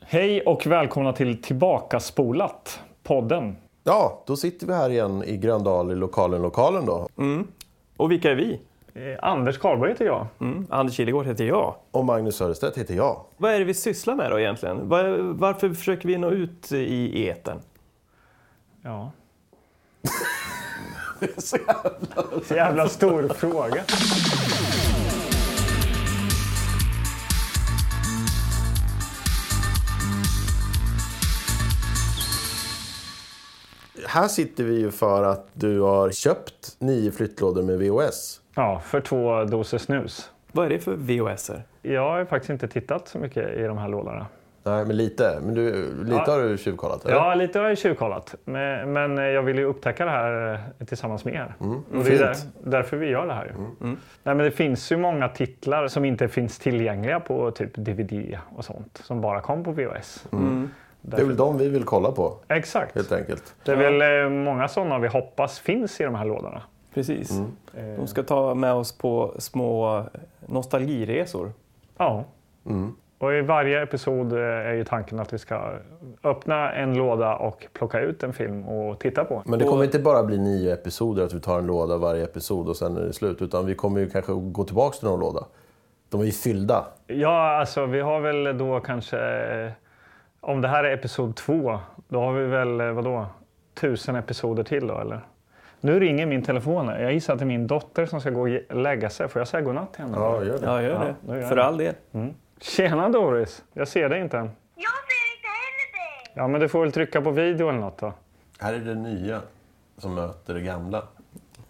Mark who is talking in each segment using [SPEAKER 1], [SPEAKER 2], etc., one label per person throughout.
[SPEAKER 1] Hej och välkomna till Tillbaka spolat podden.
[SPEAKER 2] Ja, då sitter vi här igen i Gröndal i lokalen lokalen då.
[SPEAKER 3] Och vilka är vi?
[SPEAKER 1] Eh, Anders Karlberg heter jag.
[SPEAKER 3] Mm. Anders Kilegård heter jag.
[SPEAKER 2] Och Magnus Sörestedt heter jag.
[SPEAKER 3] Vad är det vi sysslar med då egentligen? Vad- Varför försöker vi nå ut i etern?
[SPEAKER 1] Ja. Så jävla stor fråga.
[SPEAKER 2] Här sitter vi ju för att du har köpt nio flyttlådor med VHS.
[SPEAKER 1] Ja, för två doser snus.
[SPEAKER 3] Vad är det för VHSer?
[SPEAKER 1] Jag har ju faktiskt inte tittat så mycket i de här lådorna.
[SPEAKER 2] Nej, men lite. Men du, lite
[SPEAKER 1] Ja.
[SPEAKER 2] har du tjuvkollat, eller?
[SPEAKER 1] Ja, lite har jag tjuvkollat. Men, men jag vill ju upptäcka det här eh, tillsammans med er. och det är där,
[SPEAKER 2] fint.
[SPEAKER 1] därför vi gör det här. ju. Nej, men det finns ju många titlar som inte finns tillgängliga på typ DVD och sånt. Som bara kom på VHS.
[SPEAKER 3] Mm.
[SPEAKER 2] Det är väl de vi vill kolla på,
[SPEAKER 1] Exakt.
[SPEAKER 2] helt enkelt.
[SPEAKER 1] Det är väl eh, många sådana vi hoppas finns i de här lådorna.
[SPEAKER 3] Precis. De ska ta med oss på små nostalgiresor.
[SPEAKER 1] Ja. Och i varje episod eh, är ju tanken att vi ska öppna en låda och plocka ut en film och titta på.
[SPEAKER 2] Men det kommer inte bara bli nio episoder, att vi tar en låda varje episod och sen är det slut. Utan vi kommer ju kanske gå tillbaka till någon låda. De är ju fyllda.
[SPEAKER 1] Ja, alltså vi har väl då kanske... eh, Om det här är episod två, då har vi väl eh, vadå? Tusen episoder till då, eller? Nu ringer min telefon. här. Jag gissar att det är min dotter som ska gå och ge- lägga sig. Får jag säga godnatt till henne?
[SPEAKER 2] Ja, gör det.
[SPEAKER 3] Ja, gör
[SPEAKER 1] då gör
[SPEAKER 3] det.
[SPEAKER 1] jag
[SPEAKER 3] För
[SPEAKER 1] det.
[SPEAKER 3] all del.
[SPEAKER 1] Tjena Doris! Jag ser dig inte än.
[SPEAKER 4] Jag ser inte heller dig!
[SPEAKER 1] Ja, men du får väl trycka på video eller något då.
[SPEAKER 2] Här är det nya som möter det gamla.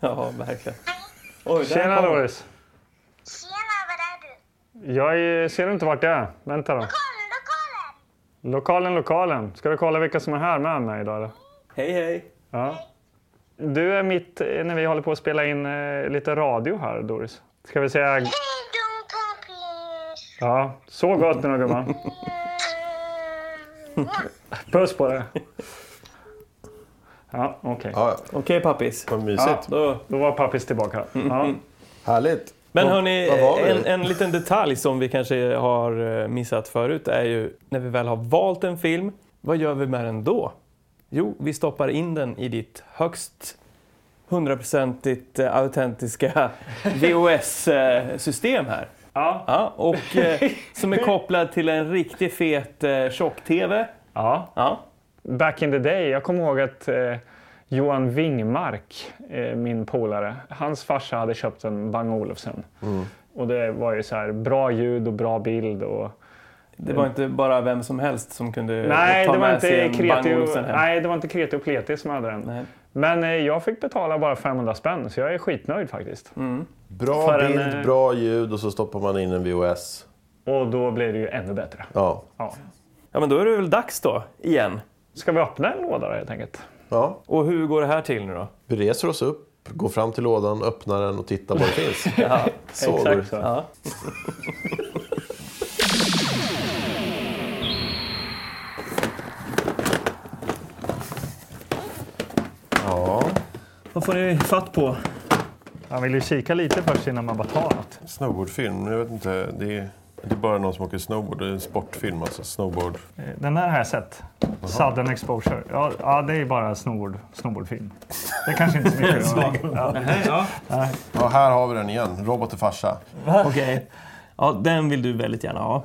[SPEAKER 3] Ja, verkligen. Oj, där
[SPEAKER 1] Tjena
[SPEAKER 3] kom-
[SPEAKER 1] Doris!
[SPEAKER 4] Tjena, var är du?
[SPEAKER 1] Jag är, ser inte vart jag är. Vänta då.
[SPEAKER 4] Kolla lokalen!
[SPEAKER 1] Lokalen, lokalen. Ska du kolla vilka som är här med mig idag? Eller?
[SPEAKER 3] Hej, hej.
[SPEAKER 1] Ja. Du är mitt eh, när vi håller på att spela in eh, lite radio här, Doris. Ska vi säga...
[SPEAKER 4] Hej då, kompis!
[SPEAKER 1] Ja, så gott nu gumman.
[SPEAKER 4] Mm.
[SPEAKER 1] Puss på dig. Ja, okej.
[SPEAKER 2] Ja, ja.
[SPEAKER 3] Okej, pappis.
[SPEAKER 2] vad mysigt.
[SPEAKER 1] Ja.
[SPEAKER 3] Då.
[SPEAKER 1] Då var pappis tillbaka. Ja.
[SPEAKER 2] Härligt.
[SPEAKER 3] Men
[SPEAKER 2] Och-
[SPEAKER 3] hörni,
[SPEAKER 2] vad var vi?
[SPEAKER 3] en, en liten detalj som vi kanske har eh, missat förut är ju när vi väl har valt en film, vad gör vi med den då? Jo, vi stoppar in den i ditt högst hundraprocentigt eh, autentiska VHS-system eh, här.
[SPEAKER 1] Ja.
[SPEAKER 3] Ja, och eh, som är kopplad till en riktigt fet eh, tjock-TV.
[SPEAKER 1] ja.
[SPEAKER 3] Ja,
[SPEAKER 1] Back in the day, jag kommer ihåg att eh, Johan Wingmark, eh, min polare, hans farsa hade köpt en Bang Olufsen. Och det var ju så här bra ljud och bra bild. Och...
[SPEAKER 3] det var inte bara vem som helst som kunde
[SPEAKER 1] Mm. Nej,
[SPEAKER 3] Eh, ta
[SPEAKER 1] det var
[SPEAKER 3] med sig
[SPEAKER 1] inte
[SPEAKER 3] en Bang
[SPEAKER 1] Kreti och,
[SPEAKER 3] Olufsen hem.
[SPEAKER 1] nej, det var inte Kreti och Pleti som hade den.
[SPEAKER 3] Nej.
[SPEAKER 1] Men eh, jag fick betala bara 500 spänn, så jag är skitnöjd faktiskt.
[SPEAKER 3] Mm.
[SPEAKER 2] Bra
[SPEAKER 1] För en,
[SPEAKER 2] bild,
[SPEAKER 1] eh,
[SPEAKER 2] bra ljud och så stoppar man in en VHS.
[SPEAKER 1] Och då blir det ju ännu bättre.
[SPEAKER 2] Ja.
[SPEAKER 1] Ja.
[SPEAKER 3] Ja, men då är det väl dags då, igen.
[SPEAKER 1] Ska vi öppna en låda då, helt enkelt?
[SPEAKER 2] ja.
[SPEAKER 3] Och hur går det här till nu då?
[SPEAKER 2] Vi reser oss upp, går fram till lådan, öppnar den och tittar vad det finns. ja, så går
[SPEAKER 1] Exakt
[SPEAKER 2] det.
[SPEAKER 1] så.
[SPEAKER 3] Ja.
[SPEAKER 2] Ja.
[SPEAKER 3] Vad får ni fatt på?
[SPEAKER 1] Man vill ju kika lite först innan man bara tar något.
[SPEAKER 2] Snowboardfilm, jag vet inte. Det är, det är bara någon som åker snowboard. Det är en sportfilm, alltså snowboard.
[SPEAKER 1] Eh, Den här har jag sett. Sudden exposure. Ja, ja det är bara snowboard, snowboardfilm. Det är kanske inte så mycket. att göra. ja.
[SPEAKER 2] Ja, här har vi den igen. Robot och farsa.
[SPEAKER 3] Okej. Ja, den vill du väldigt gärna ha.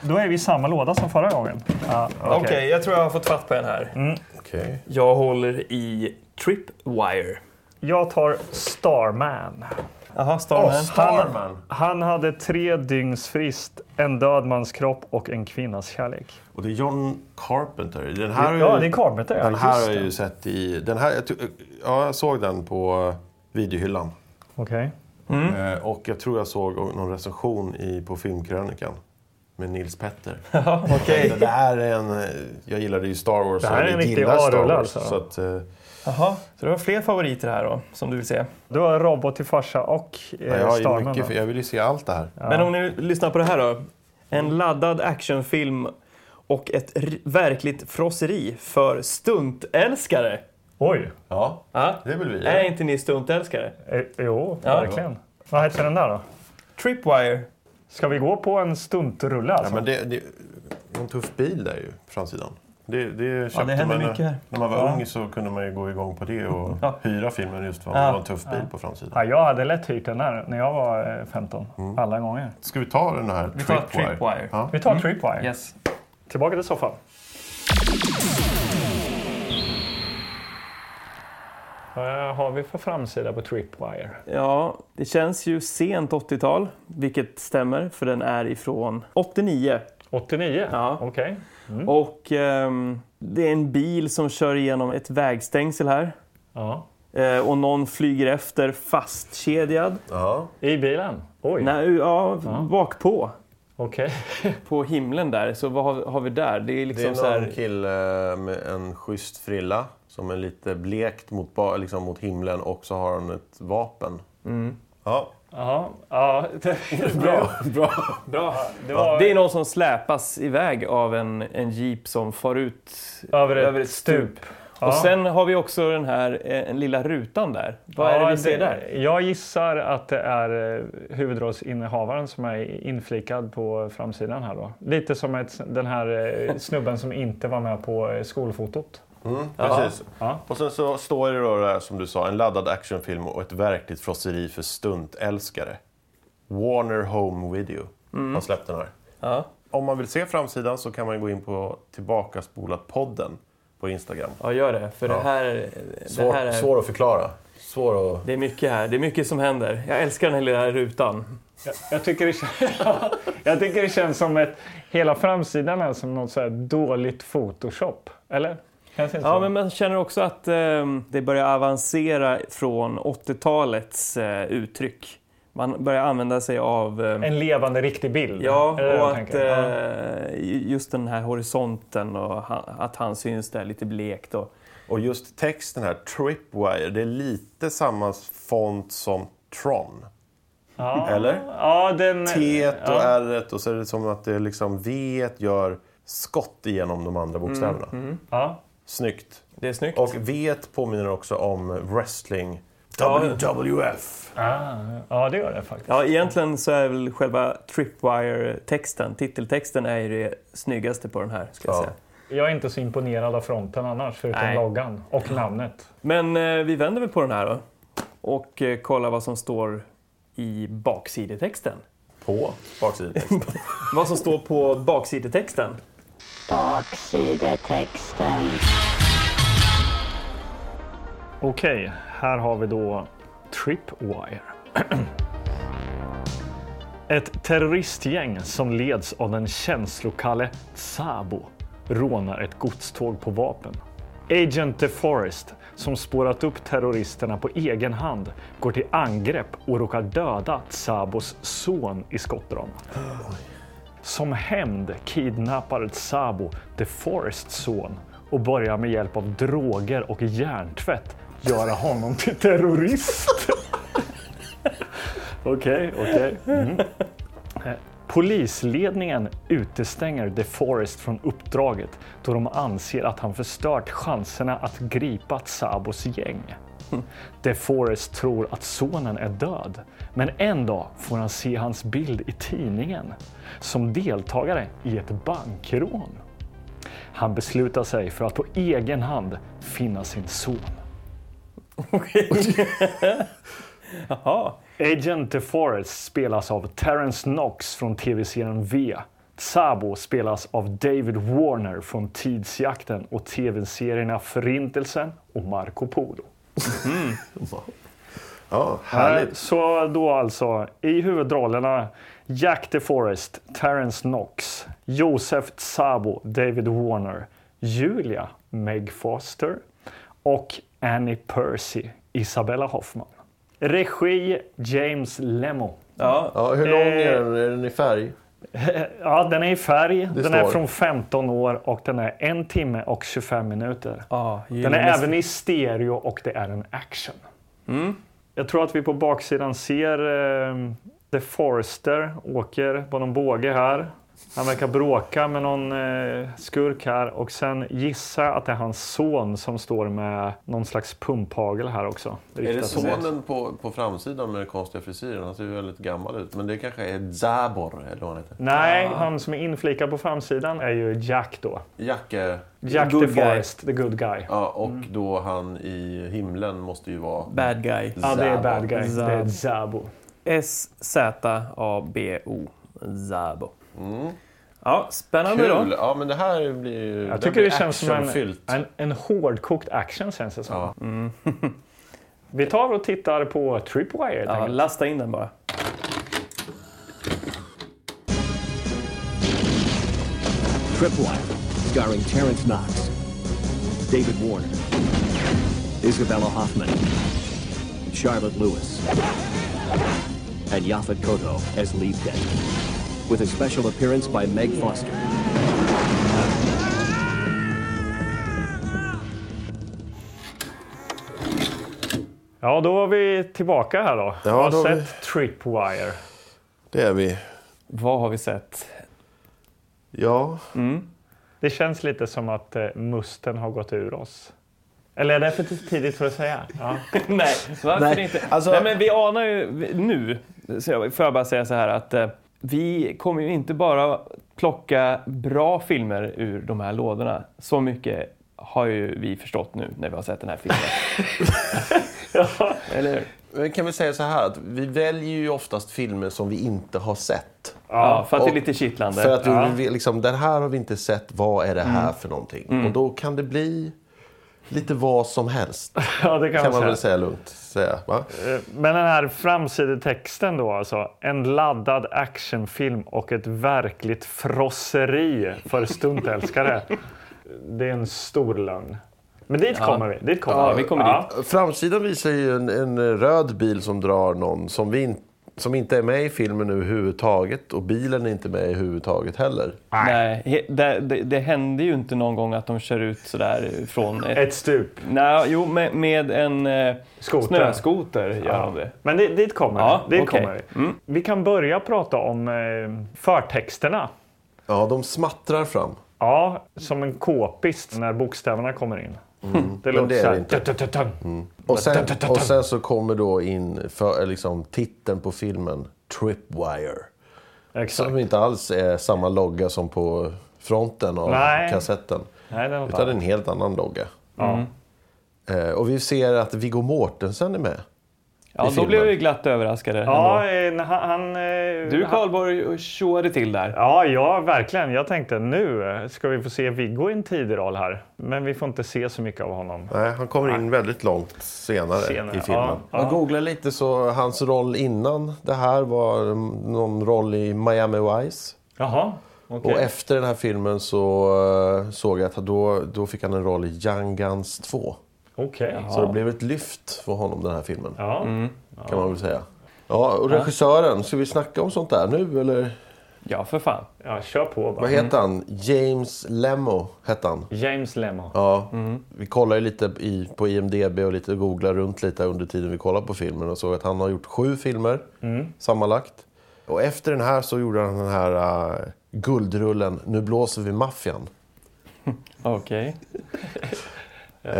[SPEAKER 1] Då är vi i samma låda som förra gången. Ja,
[SPEAKER 3] Okej, jag tror jag har fått fatt på den här.
[SPEAKER 2] Okej.
[SPEAKER 3] Jag håller i Tripwire.
[SPEAKER 1] Jag tar Starman.
[SPEAKER 3] Jaha, Starman.
[SPEAKER 2] Starman!
[SPEAKER 1] Han hade tre dygns frist, en död mans kropp och en kvinnas kärlek.
[SPEAKER 2] Och det är John Carpenter. Den här har ju-
[SPEAKER 1] Ja, det är Carpenter. Ja.
[SPEAKER 2] Den här
[SPEAKER 1] Just
[SPEAKER 2] har jag
[SPEAKER 1] det.
[SPEAKER 2] ju sett i... Den här, jag, tror- ja, jag såg den på eh, videohyllan.
[SPEAKER 1] Okej.
[SPEAKER 3] Mm.
[SPEAKER 2] Eh, Och jag tror jag såg någon recension i, på Filmkrönikan med Nils Petter.
[SPEAKER 3] Ja, okej.
[SPEAKER 2] Det här är en... eh, Jag gillade ju Star Wars.
[SPEAKER 1] Det här
[SPEAKER 2] och
[SPEAKER 1] är en riktig
[SPEAKER 2] gillar Star
[SPEAKER 1] A-rulle
[SPEAKER 2] Wars,
[SPEAKER 1] alltså.
[SPEAKER 2] Så att, eh,
[SPEAKER 3] Jaha, så du har fler favoriter här då, som du vill se.
[SPEAKER 1] Du har Robot till farsa och eh,
[SPEAKER 2] jag, har ju
[SPEAKER 1] Starman.
[SPEAKER 2] mycket,
[SPEAKER 1] då.
[SPEAKER 2] för jag vill ju se allt det här.
[SPEAKER 3] Men om ni lyssnar på det här då. En laddad actionfilm och ett r- verkligt frosseri för stuntälskare.
[SPEAKER 1] Oj!
[SPEAKER 2] Ja,
[SPEAKER 3] Ja.
[SPEAKER 2] det vill vi.
[SPEAKER 3] Är inte ni stuntälskare?
[SPEAKER 1] Eh, Jo,
[SPEAKER 3] Ja.
[SPEAKER 1] verkligen. Vad heter den där då?
[SPEAKER 3] Tripwire.
[SPEAKER 1] Ska vi gå på en stuntrulle alltså?
[SPEAKER 2] Ja, men det, det, en tuff bil där ju, på framsidan. Det, det köpte
[SPEAKER 3] händer
[SPEAKER 2] man när-
[SPEAKER 3] mycket här.
[SPEAKER 2] När man var
[SPEAKER 3] Ja.
[SPEAKER 2] ung så kunde man ju gå igång på det och
[SPEAKER 3] Ja.
[SPEAKER 2] hyra filmen just för att
[SPEAKER 3] Ja.
[SPEAKER 2] det var en tuff bil på framsidan.
[SPEAKER 1] Ja, jag hade lätt hyrt den där när jag var eh, 15.
[SPEAKER 2] Mm.
[SPEAKER 1] Alla gånger.
[SPEAKER 2] Ska vi ta den här
[SPEAKER 3] Vi tar Tripwire.
[SPEAKER 2] Ja.
[SPEAKER 1] Vi tar Tripwire.
[SPEAKER 3] Mm. Yes.
[SPEAKER 1] Tillbaka till soffan. Vad har vi för framsida på Tripwire?
[SPEAKER 3] Ja, det känns ju sent 80-tal, vilket stämmer för den är ifrån 89.
[SPEAKER 1] 89?
[SPEAKER 3] Ja.
[SPEAKER 1] Okej.
[SPEAKER 3] Och ehm, det är en bil som kör igenom ett vägstängsel här.
[SPEAKER 1] Ja.
[SPEAKER 3] Eh, och någon flyger efter fastkedjad.
[SPEAKER 2] Ja.
[SPEAKER 1] I bilen? Oj,
[SPEAKER 3] Nej, ja, bakpå.
[SPEAKER 1] okej.
[SPEAKER 3] På himlen där, så vad har, har vi där? Det är
[SPEAKER 2] Det är
[SPEAKER 3] liksom
[SPEAKER 2] någon
[SPEAKER 3] så här...
[SPEAKER 2] kille med en schysst frilla som är lite blekt mot, ba- liksom mot himlen och så har han ett vapen.
[SPEAKER 3] Mm.
[SPEAKER 2] Ja,
[SPEAKER 1] Ja, ja.
[SPEAKER 2] bra. bra.
[SPEAKER 1] Bra. Det var
[SPEAKER 3] Det är någon som släpas iväg av en, en jeep som far ut.
[SPEAKER 1] över ett,
[SPEAKER 3] över ett
[SPEAKER 1] stup. Ja.
[SPEAKER 3] Och sen har vi också den här eh, en lilla rutan där. Vad är
[SPEAKER 1] Ja,
[SPEAKER 3] det vi ser där?
[SPEAKER 1] Jag gissar att det är eh, huvudrollsinnehavaren som är inflikad på framsidan här då. Lite som ett, den här eh, snubben som inte var med på eh, skolfotot.
[SPEAKER 2] Mm, precis.
[SPEAKER 1] Ja.
[SPEAKER 2] Och sen så står det då där, som du sa, en laddad actionfilm och ett verkligt frosseri för stuntälskare. Warner Home Video har släppt den här.
[SPEAKER 3] Mm. Ja.
[SPEAKER 2] Om man vill se framsidan så kan man gå in på Tillbakaspolat-podden på Instagram.
[SPEAKER 3] ja, gör det. För det här, det här är...
[SPEAKER 2] att förklara. Svår att...
[SPEAKER 3] Det är mycket här. Det är mycket som händer. Jag älskar den här lilla rutan.
[SPEAKER 1] Jag, jag, tycker det, kän- jag tycker det känns som ett... Hela framsidan är som något så här dåligt Photoshop. Eller? Känns inte
[SPEAKER 3] Ja,
[SPEAKER 1] så?
[SPEAKER 3] men man känner också att ehm, det börjar avancera från 80-talets eh, uttryck. Man börjar använda sig av ehm,
[SPEAKER 1] En levande riktig bild.
[SPEAKER 3] Ja,
[SPEAKER 1] Är det jag
[SPEAKER 3] och att
[SPEAKER 1] tänker? Ja.
[SPEAKER 3] eh, ju- just den här horisonten och ha, att han syns där lite blekt. Och,
[SPEAKER 2] Och just texten här, Tripwire, det är lite samma font som Tron.
[SPEAKER 1] Ja.
[SPEAKER 2] Eller?
[SPEAKER 1] Ja, den...
[SPEAKER 2] T och R och så är det som att det är liksom V gör skott igenom de andra bokstäverna.
[SPEAKER 1] Ja.
[SPEAKER 2] Snyggt.
[SPEAKER 3] det är snyggt.
[SPEAKER 2] Och V påminner också om wrestling.
[SPEAKER 3] Ja.
[SPEAKER 2] WWF.
[SPEAKER 1] Ah, ja, det gör det faktiskt.
[SPEAKER 3] ja, egentligen så är väl själva Tripwire-texten, titeltexten, är ju det snyggaste på den här. Ska jag
[SPEAKER 2] Ja.
[SPEAKER 3] säga.
[SPEAKER 1] Jag är inte så imponerad av fronten annars, förutom
[SPEAKER 3] Nej.
[SPEAKER 1] loggan och namnet.
[SPEAKER 3] Men eh, vi vänder väl på den här då och eh, kollar vad som står i baksidetexten.
[SPEAKER 2] På baksidetexten.
[SPEAKER 3] Vad som står på baksidetexten.
[SPEAKER 5] Baksidetexten.
[SPEAKER 1] Okej, här har vi då Tripwire. Ett terroristgäng som leds av den känslokalle Sabo rånar ett godståg på vapen. Agent DeForest, som spårat upp terroristerna på egen hand, går till angrepp och råkar döda Sabos son i skottdramat. Som hämnd kidnappar Sabo DeForests son och börjar med hjälp av droger och hjärntvätt göra honom till terrorist. Okej, okej. Mm. Eh, Polisledningen utestänger DeForest från uppdraget då de anser att han förstört chanserna att gripa Sabos gäng. DeForest tror att sonen är död, men en dag får han se hans bild i tidningen som deltagare i ett bankrån. Han beslutar sig för att på egen hand finna sin son.
[SPEAKER 3] Jaha.
[SPEAKER 1] Agent DeForest spelas av Terrence Knox från tv-serien V. Sabo spelas av David Warner från Tidsjakten och tv-serierna Förintelsen och Marco Polo.
[SPEAKER 2] ja,
[SPEAKER 1] Här,
[SPEAKER 2] härligt.
[SPEAKER 1] Eh, så då alltså, i huvudrollerna Jack DeForest, Terrence Knox, Josef Sabo, David Warner, Julia, Meg Foster och Annie Percy, Isabella Hoffman. Regi James Lemo.
[SPEAKER 3] Ja.
[SPEAKER 2] Ja, hur lång är den? Är den i färg?
[SPEAKER 1] Ja, den är i färg, den är
[SPEAKER 2] står.
[SPEAKER 1] från 15 år och den är en timme och 25 minuter.
[SPEAKER 3] Ah,
[SPEAKER 1] Den är även i stereo och det är en action. Mm. Jag tror att vi på ehm, baksidan ser eh, The Forster åker på någon båge här. Han verkar bråka med någon eh, skurk här och sen gissa att det är hans son som står med någon slags pumphagel här också.
[SPEAKER 2] Är det
[SPEAKER 1] Riktat mot-
[SPEAKER 2] sonen på, på framsidan med den konstiga frisyren? Han ser ju väldigt gammal ut. Men det kanske är Zabor, eller vad han heter.
[SPEAKER 1] Nej, han som är inflikad på framsidan är ju Jack då.
[SPEAKER 2] Jack eh,
[SPEAKER 1] Jack
[SPEAKER 3] Good
[SPEAKER 1] the
[SPEAKER 3] guy.
[SPEAKER 1] Forest, the good guy.
[SPEAKER 2] ja, och då han i himlen måste ju vara...
[SPEAKER 3] Bad guy.
[SPEAKER 1] Ja, det är
[SPEAKER 2] Zabo.
[SPEAKER 1] bad guy. Det är
[SPEAKER 3] Zabo.
[SPEAKER 1] Zabo.
[SPEAKER 3] S-Z-A-B-O. Zabo. Ja, spännande
[SPEAKER 2] Mm. Kul!
[SPEAKER 3] då.
[SPEAKER 2] Ja, men det här blir ju...
[SPEAKER 1] Jag
[SPEAKER 2] här
[SPEAKER 1] tycker
[SPEAKER 2] blir
[SPEAKER 1] det känns som en,
[SPEAKER 2] actionfyllt.
[SPEAKER 1] en, en hårdkokt action känns det som. Mm.
[SPEAKER 2] Ja.
[SPEAKER 1] Vi tar och tittar på Tripwire.
[SPEAKER 3] Ja,
[SPEAKER 1] Ja.
[SPEAKER 3] lasta in den bara.
[SPEAKER 5] Tripwire, starring Terrence Knox, David Warner, Isabella Hoffman, Charlotte Lewis, and Yaphet Kotto as lead dead, with a special appearance by Meg Foster.
[SPEAKER 1] ja, då är vi tillbaka här då. Jag har
[SPEAKER 2] då har vi-
[SPEAKER 1] sett Tripwire.
[SPEAKER 2] Det är vi.
[SPEAKER 3] Vad har vi sett?
[SPEAKER 2] Ja.
[SPEAKER 1] Det känns lite som att eh, musten har gått ur oss. Eller är det för tidigt för att säga? Ja.
[SPEAKER 3] Nej, varför
[SPEAKER 2] Nej,
[SPEAKER 3] inte?
[SPEAKER 2] alltså-
[SPEAKER 3] Nej, men vi anar ju vi- nu, så jag- får jag bara säga så här att eh, vi kommer ju inte bara plocka bra filmer ur de här lådorna. Så mycket har ju vi förstått nu när vi har sett den här filmen. Eller hur?
[SPEAKER 2] Men kan vi säga så här att vi väljer ju oftast filmer som vi inte har sett.
[SPEAKER 3] Ja, för att det är
[SPEAKER 2] och-
[SPEAKER 3] lite kittlande.
[SPEAKER 2] För att
[SPEAKER 1] Ja. Mm.
[SPEAKER 2] vi, vi- liksom, den här har vi inte sett, vad är det här för någonting? Och då kan det bli lite vad som helst.
[SPEAKER 1] ja, det kan,
[SPEAKER 2] Kan man
[SPEAKER 1] man säga.
[SPEAKER 2] väl säga lugnt. Säga, va?
[SPEAKER 1] Eh, Men den här framsidetexten då alltså. En laddad actionfilm och ett verkligt frosseri för stuntälskare. det är en stor lögn. Men dit kommer vi. Dit kommer
[SPEAKER 3] Ja, vi kommer
[SPEAKER 2] Framsidan visar ju en, en röd bil som drar någon som, vi, in- som inte är med i filmen överhuvudtaget. Och bilen är inte med överhuvudtaget heller.
[SPEAKER 3] Nej, he- det, det, det händer ju inte någon gång att de kör ut sådär från ett...
[SPEAKER 1] Ett stup.
[SPEAKER 3] Nej, jo, med, med en eh,
[SPEAKER 1] Skoter.
[SPEAKER 3] snöskoter gör de det.
[SPEAKER 1] Men dit, dit kommer
[SPEAKER 3] Ja,
[SPEAKER 1] vi. Dit
[SPEAKER 3] okej. Mm.
[SPEAKER 1] kommer vi. vi kan börja prata om eh, förtexterna.
[SPEAKER 2] Ja, de smattrar fram.
[SPEAKER 1] Ja, som en k-pist när bokstäverna kommer in. Det
[SPEAKER 2] Mm. Men det är
[SPEAKER 1] så
[SPEAKER 2] det
[SPEAKER 1] här,
[SPEAKER 2] inte. Mm.
[SPEAKER 1] tut-tut-tut-tut.
[SPEAKER 2] Och sen, och sen så kommer då in för, liksom, titeln på filmen, Tripwire.
[SPEAKER 1] Exakt.
[SPEAKER 2] Som inte alls är samma logga som på fronten av
[SPEAKER 1] Nej.
[SPEAKER 2] kassetten.
[SPEAKER 1] Nej, det är något
[SPEAKER 2] Utan
[SPEAKER 1] annat.
[SPEAKER 2] en helt annan logga.
[SPEAKER 1] Mm.
[SPEAKER 2] Eh, och vi ser att Viggo Mortensen är med.
[SPEAKER 3] Ja,
[SPEAKER 2] i
[SPEAKER 3] då
[SPEAKER 2] filmen.
[SPEAKER 3] blev vi glatt överraskade.
[SPEAKER 1] Ja,
[SPEAKER 3] ändå.
[SPEAKER 1] eh, när han... han eh,
[SPEAKER 3] Du
[SPEAKER 1] han-
[SPEAKER 3] Karlborg tjoade till där.
[SPEAKER 1] Ja, ja, verkligen. Jag tänkte nu eh, ska vi få se Viggo i en tidig roll här. Men vi får inte se så mycket av honom.
[SPEAKER 2] Nej, han kommer in väldigt långt senare,
[SPEAKER 1] Senare,
[SPEAKER 2] i filmen.
[SPEAKER 1] ja,
[SPEAKER 2] Jag googlade lite så hans roll innan det här var mm, någon roll i Miami Vice.
[SPEAKER 1] Jaha, okej.
[SPEAKER 2] Och efter den här filmen så eh, såg jag att då, då fick han en roll i Young Guns 2.
[SPEAKER 1] Okej. Mm.
[SPEAKER 2] Så det blev ett lyft för honom den här filmen.
[SPEAKER 1] Ja.
[SPEAKER 2] Kan man väl säga. Ja, och regissören, ska vi snacka om sånt där nu eller?
[SPEAKER 3] Ja, för fan.
[SPEAKER 1] ja, kör på bara.
[SPEAKER 2] Vad heter han? James Lemmo hette han.
[SPEAKER 1] James Lemon.
[SPEAKER 2] Ja,
[SPEAKER 1] Mm.
[SPEAKER 2] vi kollar ju lite i, på IMDB och lite googlar runt lite under tiden vi kollar på filmen och såg att han har gjort sju filmer
[SPEAKER 1] Mm.
[SPEAKER 2] sammanlagt. Och efter den här så gjorde han den här eh, guldrullen Nu blåser vi maffian.
[SPEAKER 3] Okej.
[SPEAKER 1] Ja,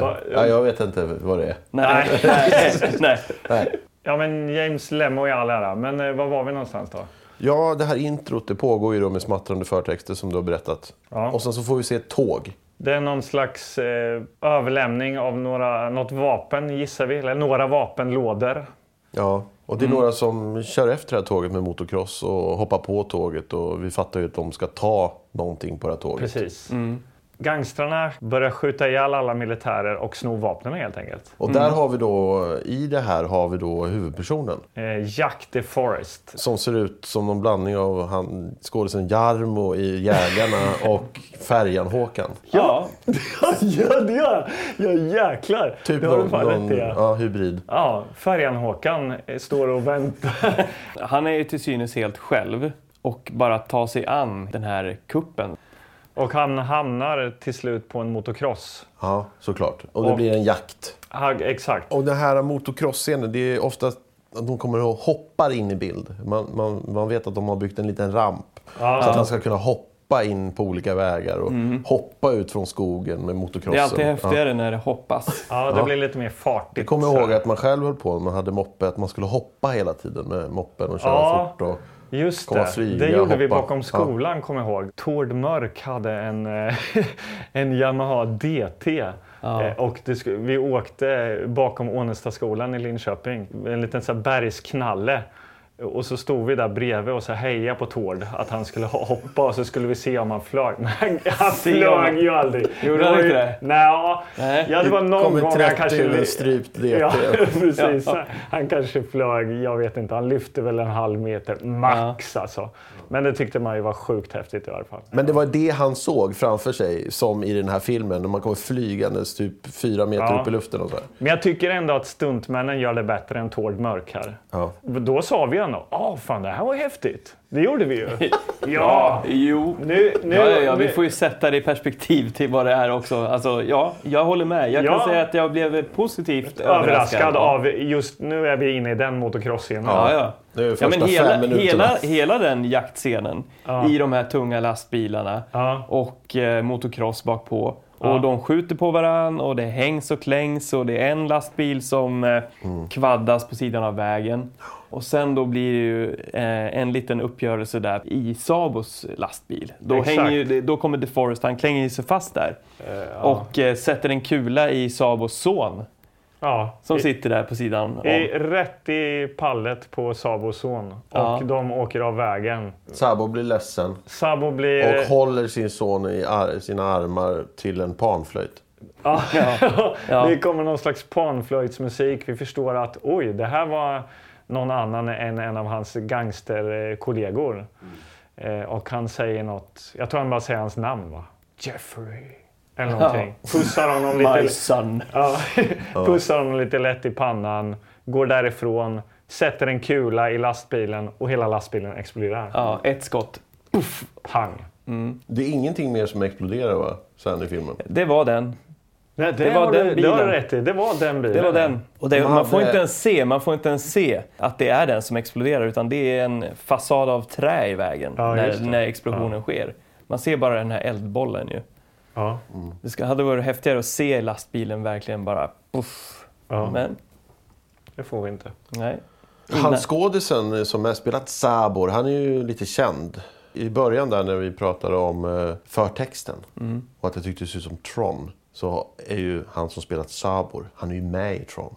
[SPEAKER 1] va-
[SPEAKER 2] Äh, Ja, jag vet inte vad det är.
[SPEAKER 3] Nej, nej, nej.
[SPEAKER 2] Nej.
[SPEAKER 1] ja, men James Lemon i all ära. Men eh, var var vi någonstans då?
[SPEAKER 2] Ja, det här introt det pågår ju då med smattrande förtexter som du har berättat.
[SPEAKER 1] Ja.
[SPEAKER 2] Och sen så får vi se ett tåg.
[SPEAKER 1] Det är någon slags eh, överlämning av några, något vapen gissar vi. Eller några vapenlådor.
[SPEAKER 2] Ja, och
[SPEAKER 1] Mm.
[SPEAKER 2] det är några som kör efter det här tåget med motocross och hoppar på tåget och vi fattar ju att de ska ta någonting på det här tåget.
[SPEAKER 1] Precis.
[SPEAKER 2] Mm.
[SPEAKER 1] Gangstrarna börjar skjuta ihjäl alla militärer och sno vapnen helt enkelt.
[SPEAKER 2] Och där har vi då, i det här har vi då huvudpersonen.
[SPEAKER 1] Eh, Jack the Forest.
[SPEAKER 2] Som ser ut som någon blandning av han, skådisen Jarmo i Jägarna och Färjan-Håkan.
[SPEAKER 3] Ja,
[SPEAKER 1] ja, det gör Ja, jäklar.
[SPEAKER 2] Typ
[SPEAKER 1] det har du
[SPEAKER 2] någon,
[SPEAKER 1] fan
[SPEAKER 2] någon
[SPEAKER 1] rätt i. Ja.
[SPEAKER 2] ja, hybrid.
[SPEAKER 1] Ja, Färjan-Håkan eh, står och väntar.
[SPEAKER 3] han är ju till synes helt själv och bara tar sig an den här kuppen.
[SPEAKER 1] Och han hamnar till slut på en motocross.
[SPEAKER 2] Ja, såklart. Och det
[SPEAKER 1] Och-
[SPEAKER 2] blir en jakt.
[SPEAKER 1] Han, exakt.
[SPEAKER 2] Och den här motocross-scenen, det är ofta att de kommer och hoppar in i bild. Man, man, man vet att de har byggt en liten ramp.
[SPEAKER 1] Ah.
[SPEAKER 2] Så att han ska kunna hoppa in på olika vägar och
[SPEAKER 1] Mm.
[SPEAKER 2] hoppa ut från skogen med motocrossen.
[SPEAKER 3] Det är alltid
[SPEAKER 2] Ja.
[SPEAKER 3] häftigare när det hoppas.
[SPEAKER 1] Ja, det blir lite mer fartigt.
[SPEAKER 2] Jag kommer
[SPEAKER 1] så här.
[SPEAKER 2] ihåg att man själv höll på när man hade moppe, att man skulle hoppa hela tiden med moppen och köra
[SPEAKER 1] Ja.
[SPEAKER 2] fort. Och...
[SPEAKER 1] Just
[SPEAKER 2] komma
[SPEAKER 1] det,
[SPEAKER 2] flyga,
[SPEAKER 1] det gjorde vi
[SPEAKER 2] hoppa.
[SPEAKER 1] bakom skolan kommer jag ihåg. Tord Mörk hade en, eh, en Yamaha DT. Eh, Och det, sku- vi åkte bakom Ånestadsskolan i Linköping, en liten så här bergsknalle. Och så stod vi där bredvid och så hejade på Tord att han skulle ho- hoppa och så skulle vi se om han flög. Men han, han
[SPEAKER 3] om-
[SPEAKER 1] flög ju aldrig.
[SPEAKER 3] Gjorde han
[SPEAKER 1] var ju-
[SPEAKER 3] inte det?
[SPEAKER 1] Nej,
[SPEAKER 3] Nej.
[SPEAKER 1] ja, det var någon gång han kanske...
[SPEAKER 2] ur en strypt DT.
[SPEAKER 1] Ja, precis. Han kanske flög, jag vet inte, han lyfte väl en halv meter max alltså. Men det tyckte man ju var sjukt häftigt i alla fall.
[SPEAKER 2] Men det var det han såg framför sig, som i den här filmen, när man kommer flygandes typ fyra meter
[SPEAKER 1] Ja.
[SPEAKER 2] upp i luften och så här.
[SPEAKER 1] Men jag tycker ändå att stuntmännen gör det bättre än Tord Mörk här.
[SPEAKER 2] Ja.
[SPEAKER 1] Då sa vi ändå, ja fan det här var häftigt. Det gjorde vi ju. ja,
[SPEAKER 3] Ja, jo.
[SPEAKER 1] nu... nu
[SPEAKER 3] Ja, ja, ja, vi
[SPEAKER 1] nu-
[SPEAKER 3] får ju sätta det i perspektiv till vad det är också. Alltså, ja, jag håller med. Jag kan
[SPEAKER 1] Ja.
[SPEAKER 3] säga att jag blev positivt överraskad.
[SPEAKER 1] Överraskad av, just nu är vi inne i den motocross-scenen.
[SPEAKER 3] Ja, ja.
[SPEAKER 2] Det är ju
[SPEAKER 3] ja, men
[SPEAKER 2] första
[SPEAKER 3] hela,
[SPEAKER 2] fem minuterna.
[SPEAKER 3] hela, hela den jaktscenen i de här tunga lastbilarna
[SPEAKER 1] Ja.
[SPEAKER 3] och eh, motocross bakpå. Och de skjuter på varann och det hängs och klängs och det är en lastbil som eh, kvaddas på sidan av vägen. Och sen då blir det ju eh, en liten uppgörelse där i Sabos lastbil. Då,
[SPEAKER 1] Exakt.
[SPEAKER 3] hänger ju, det- då kommer DeForest, han klänger ju sig fast där. Och eh, sätter en kula i Sabos son
[SPEAKER 1] Ja.
[SPEAKER 3] som
[SPEAKER 1] I-
[SPEAKER 3] sitter där på sidan om.
[SPEAKER 1] I, rätt i pallet på Sabos son.
[SPEAKER 3] Ja.
[SPEAKER 1] Och de åker av vägen.
[SPEAKER 2] Sabo blir ledsen
[SPEAKER 1] Sabo blir...
[SPEAKER 2] och håller sin son i ar- sina armar till en panflöjt.
[SPEAKER 1] Ja.
[SPEAKER 3] Ja.
[SPEAKER 1] Det kommer någon slags panflöjtsmusik. Vi förstår att oj, det här var någon annan än en av hans gangsterkollegor.
[SPEAKER 3] Mm.
[SPEAKER 1] Eh, och han säger något, jag tror han bara säger hans namn va? Jeffrey. Eller någonting. Pussar honom
[SPEAKER 3] My
[SPEAKER 1] lite,
[SPEAKER 3] son.
[SPEAKER 1] ja, pussar honom lite lätt i pannan, går därifrån, sätter en kula i lastbilen och hela lastbilen exploderar.
[SPEAKER 3] Ja, ett skott.
[SPEAKER 1] Pang!
[SPEAKER 2] Det är ingenting mer som exploderar va? sen i filmen.
[SPEAKER 3] Det var den.
[SPEAKER 1] Nej, det,
[SPEAKER 3] Det var
[SPEAKER 1] har
[SPEAKER 3] den
[SPEAKER 1] du, det har du
[SPEAKER 3] bilen.
[SPEAKER 1] rätt i. Det var den bilen.
[SPEAKER 3] Det var den. Och det,
[SPEAKER 2] Man
[SPEAKER 3] man, får
[SPEAKER 2] hade-
[SPEAKER 3] inte ens se, man får inte ens se att det är den som exploderar utan det är en fasad av trä i vägen
[SPEAKER 1] Ja, just
[SPEAKER 3] när,
[SPEAKER 1] det.
[SPEAKER 3] när explosionen sker. Man ser bara den här eldbollen ju.
[SPEAKER 1] Ja.
[SPEAKER 3] Det ska, hade varit häftigare att se lastbilen verkligen bara puff.
[SPEAKER 1] Ja.
[SPEAKER 3] Men
[SPEAKER 1] Det får vi inte.
[SPEAKER 3] nej.
[SPEAKER 2] Han skådisen som har spelat Sabor, han är ju lite känd. I början där när vi pratade om eh, förtexten
[SPEAKER 1] Mm.
[SPEAKER 2] och att jag tyckte det såg ut som Tron. Så är ju han som spelat Sabor, han är ju med i Tron.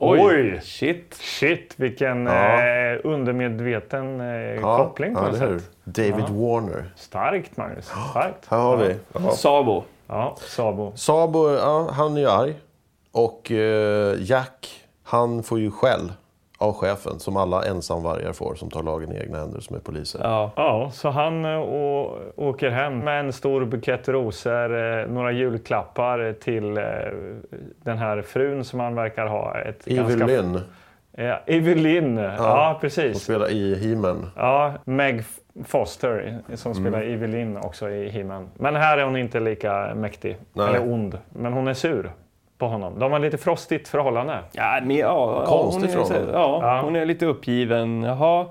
[SPEAKER 1] Oj.
[SPEAKER 3] Shit.
[SPEAKER 1] Shit, vilken
[SPEAKER 2] Ja.
[SPEAKER 1] eh, undermedveten eh, koppling på
[SPEAKER 2] ja,
[SPEAKER 1] något
[SPEAKER 2] det är
[SPEAKER 1] sätt.
[SPEAKER 2] du. David Warner.
[SPEAKER 1] Starkt Magnus. Starkt.
[SPEAKER 2] Här har vi.
[SPEAKER 3] Sabo.
[SPEAKER 1] Ja, Sabo.
[SPEAKER 2] Sabo, ja, han är ju arg. Och eh, Jack, han får ju skäll av chefen som alla ensamvargar får som tar lagen i egna händer som är poliser.
[SPEAKER 3] Ja.
[SPEAKER 1] Ja, så han eh, å- åker hem med en stor bukett rosor, eh, några julklappar till eh, den här frun som han verkar ha. Ett
[SPEAKER 2] Evil Lynn,
[SPEAKER 1] Ja, Evelyn. Ja,
[SPEAKER 2] som
[SPEAKER 1] precis.
[SPEAKER 2] spelar i He-Man.
[SPEAKER 1] Ja, Meg F- Foster eh, som spelar Evelyn också i He-Man. Men här är hon inte lika mäktig
[SPEAKER 2] Nej.
[SPEAKER 1] eller ond. Men hon är sur på honom. De har lite frostigt förhållande.
[SPEAKER 3] Ja, men, ja,
[SPEAKER 2] Konstigt
[SPEAKER 3] hon är,
[SPEAKER 2] från honom.
[SPEAKER 3] ja,
[SPEAKER 1] Ja.
[SPEAKER 3] hon är lite uppgiven. Jaha.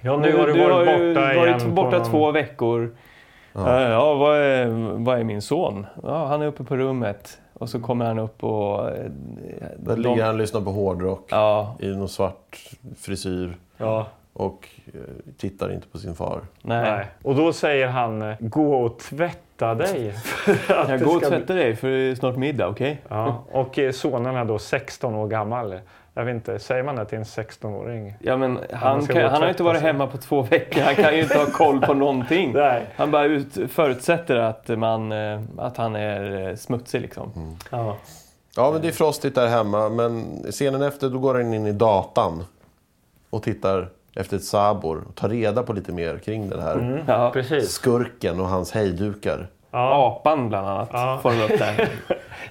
[SPEAKER 1] Ja, nu har du,
[SPEAKER 3] du
[SPEAKER 1] varit
[SPEAKER 3] ju
[SPEAKER 1] borta igen.
[SPEAKER 3] varit
[SPEAKER 1] på
[SPEAKER 3] borta
[SPEAKER 1] någon-
[SPEAKER 3] två veckor. Ja, ja vad, är, vad är min son? Ja, han är uppe på rummet. Och så kommer han upp och... eh,
[SPEAKER 2] Där ligger han och lyssnar på hårdrock
[SPEAKER 3] Ja,
[SPEAKER 2] i någon svart frisyr
[SPEAKER 1] Ja,
[SPEAKER 2] och eh, tittar inte på sin far.
[SPEAKER 3] nej.
[SPEAKER 1] nej. Och då säger han eh, gå och tvätta dig. för att
[SPEAKER 3] Jag
[SPEAKER 1] det
[SPEAKER 3] går och
[SPEAKER 1] ska bli-
[SPEAKER 3] tvättar dig för det är snart middag, okej?
[SPEAKER 1] Ja. Och eh, sonen är då 16 år gammal. Jag vet inte, säger man det till en 16-åring?
[SPEAKER 3] Ja, men han,
[SPEAKER 1] ska
[SPEAKER 3] kan,
[SPEAKER 1] gå och
[SPEAKER 3] han har ju inte
[SPEAKER 1] tvätta
[SPEAKER 3] varit
[SPEAKER 1] sig.
[SPEAKER 3] hemma på två veckor. Han kan ju inte ha koll på någonting.
[SPEAKER 1] Nej.
[SPEAKER 3] Han bara ut, förutsätter att, man, eh, att han är eh, smutsig liksom.
[SPEAKER 2] Mm.
[SPEAKER 1] Ja.
[SPEAKER 2] Ja, men det är frostigt där hemma. Men scenen efter, då går han in i datan och tittar efter ett sabor och tar reda på lite mer kring den här
[SPEAKER 3] Ja.
[SPEAKER 1] Precis.
[SPEAKER 2] skurken och hans hejdukar.
[SPEAKER 3] Apan bland annat får han upp där.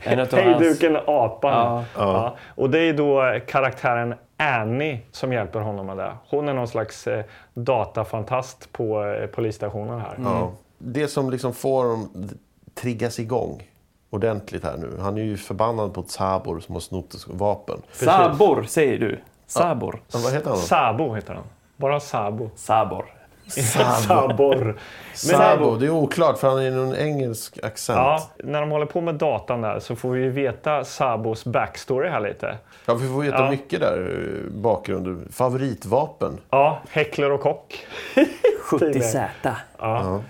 [SPEAKER 3] En utav hans-
[SPEAKER 1] Hejduken apan.
[SPEAKER 3] Ja.
[SPEAKER 1] Ja. Och det är då karaktären Annie som hjälper honom med det. Hon är någon slags eh, datafantast på eh, polisstationen här.
[SPEAKER 2] Ja. Det som liksom får dem triggas igång ordentligt här nu. Han är ju förbannad på ett sabor som har snott ett vapen.
[SPEAKER 3] Sabor säger du. Sabor.
[SPEAKER 2] Men Vad heter han? då?
[SPEAKER 1] Sabo heter han. Bara Sabo.
[SPEAKER 3] Sabor.
[SPEAKER 1] Sabor.
[SPEAKER 2] Men Sabo. Det är oklart för han är i någon engelsk accent.
[SPEAKER 1] Ja,
[SPEAKER 2] Ja.
[SPEAKER 1] när de håller på med datan där så får vi ju veta Sabos backstory här lite.
[SPEAKER 2] vi får veta mycket där. eh, Bakgrund. Favoritvapen.
[SPEAKER 1] Ja, häcklare och kock.
[SPEAKER 3] 70 Z. Ja.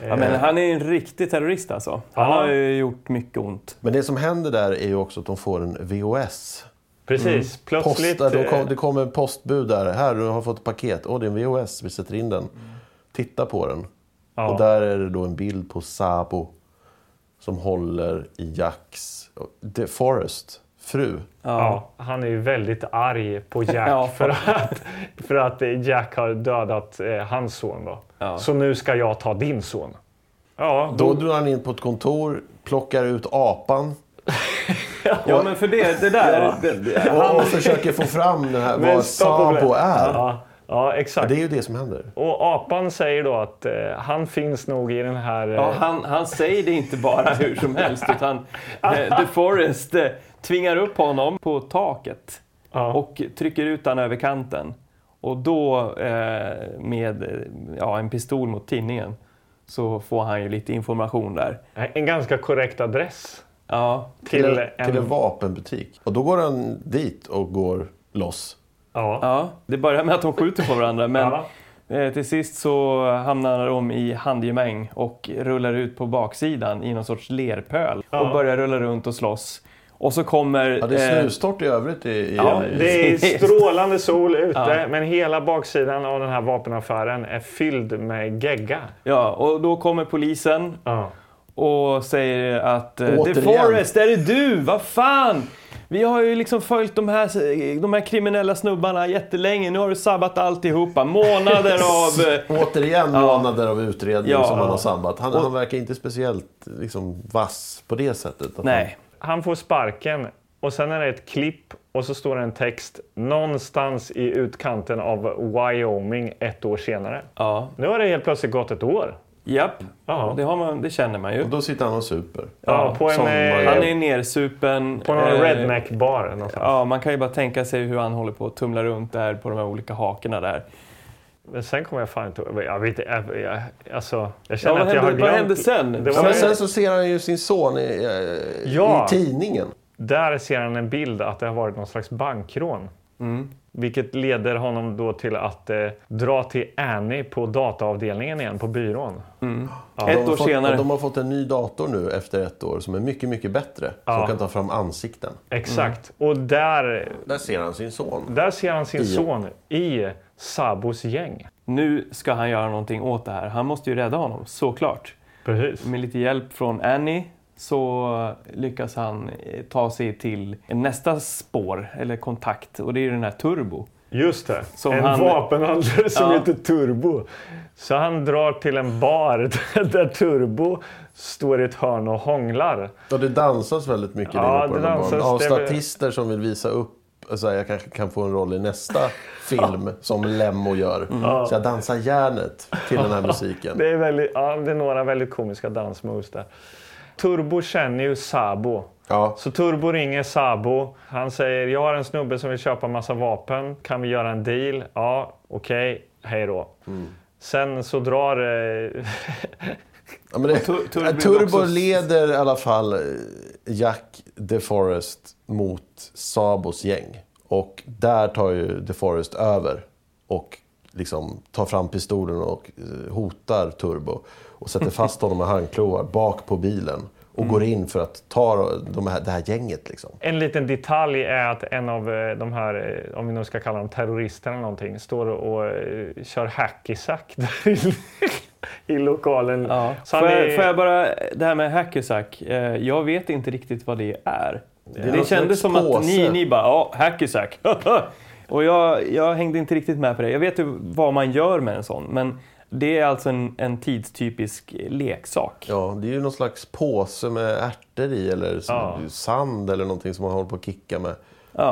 [SPEAKER 3] men han är ju en riktig terrorist alltså. Han
[SPEAKER 1] Ja.
[SPEAKER 3] har ju gjort mycket ont.
[SPEAKER 2] Men det som händer där är ju också att de får en VOS.
[SPEAKER 1] Precis, plötsligt.
[SPEAKER 2] Posta, då
[SPEAKER 1] eh,
[SPEAKER 2] kom, det kommer en postbud där. Här, du har fått ett paket. Åh, det är en VOS. Vi sätter in den. Titta på den.
[SPEAKER 1] Mm. Ja.
[SPEAKER 2] Och där är det då en bild på Sabo som håller i Jacks, The Forest, fru.
[SPEAKER 1] Ja, han är ju väldigt arg på Jack
[SPEAKER 3] Ja.
[SPEAKER 1] för, att, för att eh, Jack har dödat eh, hans son. Då.
[SPEAKER 3] Ja.
[SPEAKER 1] Så nu ska jag ta din son. Ja,
[SPEAKER 2] Då drar han in på ett kontor, plockar ut apan
[SPEAKER 3] Ja, men för det, det där... det, det,
[SPEAKER 2] och,
[SPEAKER 3] han,
[SPEAKER 2] och försöker få fram det här, vad
[SPEAKER 1] stopp och
[SPEAKER 2] Sabo
[SPEAKER 1] blä-
[SPEAKER 2] är.
[SPEAKER 1] Ja, ja, exakt.
[SPEAKER 2] Det är ju det som händer.
[SPEAKER 1] Och apan säger då att eh, han finns nog i den här... eh,
[SPEAKER 3] ja, han, han säger det inte bara hur som helst, utan eh, The Forest eh, tvingar upp honom på taket
[SPEAKER 1] ja.
[SPEAKER 3] och trycker ut honom över kanten. Och då, eh, med eh, ja, en pistol mot tinningen, så får han ju lite information där.
[SPEAKER 1] eh, En ganska korrekt adress.
[SPEAKER 3] Ja,
[SPEAKER 1] Till,
[SPEAKER 2] Till,
[SPEAKER 1] en,
[SPEAKER 2] till en vapenbutik. Och då går han dit och går loss.
[SPEAKER 1] ja.
[SPEAKER 3] ja, det börjar med att de skjuter på varandra, men
[SPEAKER 1] Ja.
[SPEAKER 3] Eh, Till sist så hamnar de i handgemäng och rullar ut på baksidan i någon sorts lerpöl och börjar rulla runt och slåss. Och så kommer...
[SPEAKER 2] Ja, det är
[SPEAKER 3] eh,
[SPEAKER 2] snustort i övrigt i, i,
[SPEAKER 3] Ja,
[SPEAKER 2] i
[SPEAKER 1] Det är
[SPEAKER 3] Precis.
[SPEAKER 1] strålande sol ute,
[SPEAKER 3] Ja.
[SPEAKER 1] men hela baksidan av den här vapenaffären är fylld med gegga.
[SPEAKER 3] ja, och då kommer polisen
[SPEAKER 1] Ja.
[SPEAKER 3] och säger att eh, The
[SPEAKER 2] Återigen.
[SPEAKER 3] Forest, är det du? Vad fan! Vi har ju liksom följt de här, de här kriminella snubbarna jättelänge. Nu har du sabbat alltihopa. Månader av... eh,
[SPEAKER 2] Återigen månader av utredning
[SPEAKER 3] Ja.
[SPEAKER 2] som han har sabbat. Han, han verkar inte speciellt liksom, vass på det sättet. Att
[SPEAKER 3] Nej.
[SPEAKER 1] Han får sparken och sen är det ett klipp och så står det en text någonstans i utkanten av Wyoming ett år senare.
[SPEAKER 3] Ja.
[SPEAKER 1] Nu har det helt plötsligt gått ett år.
[SPEAKER 3] Japp.
[SPEAKER 1] Ja.
[SPEAKER 3] Det, har man, det känner man ju.
[SPEAKER 2] Han,
[SPEAKER 3] Han
[SPEAKER 2] och då sitter han och super.
[SPEAKER 1] Ja, på en,
[SPEAKER 2] som
[SPEAKER 1] eh,
[SPEAKER 2] man
[SPEAKER 3] är nersupen.
[SPEAKER 1] På någon
[SPEAKER 3] eh,
[SPEAKER 1] redneck-bar någonstans.
[SPEAKER 3] Ja, man kan ju bara tänka sig hur han håller på att tumla runt där på de här olika hakorna där.
[SPEAKER 1] Men sen kommer jag fan inte Jag vet inte. Jag, jag, alltså, jag
[SPEAKER 3] Ja,
[SPEAKER 1] känner
[SPEAKER 3] vad
[SPEAKER 1] att jag har
[SPEAKER 3] hände,
[SPEAKER 1] glömt.
[SPEAKER 3] vad hände sen?
[SPEAKER 1] Det
[SPEAKER 2] Ja,
[SPEAKER 1] var-
[SPEAKER 2] men sen så ser han ju sin son i, eh,
[SPEAKER 1] Ja.
[SPEAKER 2] i tidningen.
[SPEAKER 1] Där ser han en bild att det har varit någon slags bankrån.
[SPEAKER 3] Mm.
[SPEAKER 1] Vilket leder honom då till att eh, dra till Annie på dataavdelningen igen på byrån.
[SPEAKER 2] De
[SPEAKER 3] Ett
[SPEAKER 2] har
[SPEAKER 3] år
[SPEAKER 2] fått,
[SPEAKER 3] senare.
[SPEAKER 2] De har fått en ny dator nu efter ett år som är mycket, mycket bättre. Som kan ta fram ansikten.
[SPEAKER 1] Exakt.
[SPEAKER 3] Mm.
[SPEAKER 1] Och där,
[SPEAKER 2] Där ser han sin son.
[SPEAKER 1] där ser han sin son i Sabos gäng.
[SPEAKER 3] Nu ska han göra någonting åt det här. Han måste ju rädda honom, såklart.
[SPEAKER 1] Precis.
[SPEAKER 3] Med lite hjälp från Annie så lyckas han eh, ta sig till nästa spår, eller kontakt, och det är ju den här Turbo.
[SPEAKER 1] Just det.
[SPEAKER 3] Som
[SPEAKER 1] en
[SPEAKER 3] han-
[SPEAKER 1] vapenhandlare som
[SPEAKER 3] Ja.
[SPEAKER 1] heter Turbo. Så han drar till en bar där- där Turbo står i ett hörn och hånglar.
[SPEAKER 2] Och det dansas väldigt mycket
[SPEAKER 1] Ja,
[SPEAKER 2] inne på
[SPEAKER 1] det
[SPEAKER 2] den här
[SPEAKER 1] dansas.
[SPEAKER 2] barnen. Av
[SPEAKER 1] Det är väl-
[SPEAKER 2] statister som vill visa upp så här, jag kanske kan få en roll i nästa film som Lemmo gör. Så jag dansar järnet till den här musiken.
[SPEAKER 1] Det är, väldigt, ja, det är några väldigt komiska dansmoves där. Turbo känner ju Sabo.
[SPEAKER 2] Ja.
[SPEAKER 1] Så Turbo ringer Sabo. Han säger jag har en snubbe som vill köpa massa vapen. Kan vi göra en deal? Ja, okej. Hej då. Sen så drar... Eh,
[SPEAKER 2] Ja, men det,
[SPEAKER 3] Tur- Turbo
[SPEAKER 2] Ja,
[SPEAKER 3] blir
[SPEAKER 2] Turbo
[SPEAKER 3] också-
[SPEAKER 2] leder i alla fall eh, Jack DeForest mot Sabos gäng. Och där tar ju DeForest över och liksom tar fram pistolen och eh, hotar Turbo. Och sätter fast honom med handklovar bak på bilen. Och går
[SPEAKER 3] Mm.
[SPEAKER 2] in för att ta de här, det här gänget. Liksom.
[SPEAKER 1] en liten detalj är att en av eh, de här, eh, om vi nu ska kalla dem terrorister eller någonting, står och eh, kör hackisack där i, i lokalen.
[SPEAKER 3] Ja.
[SPEAKER 1] Så
[SPEAKER 3] Får,
[SPEAKER 1] han
[SPEAKER 3] jag,
[SPEAKER 1] är-
[SPEAKER 3] får jag bara, det här med Hackersack, eh, jag vet inte riktigt vad det är. Det,
[SPEAKER 2] någon slags
[SPEAKER 3] kändes som att ni,
[SPEAKER 2] påse.
[SPEAKER 3] ni bara, ja, Hackersack. Och jag, jag hängde inte riktigt med på det. Jag vet ju vad man gör med en sån, men det är alltså en, en tidstypisk leksak.
[SPEAKER 2] Ja, det är ju någon slags påse med ärtor i eller som-
[SPEAKER 1] Ja.
[SPEAKER 2] sand eller någonting som man håller på att kicka med.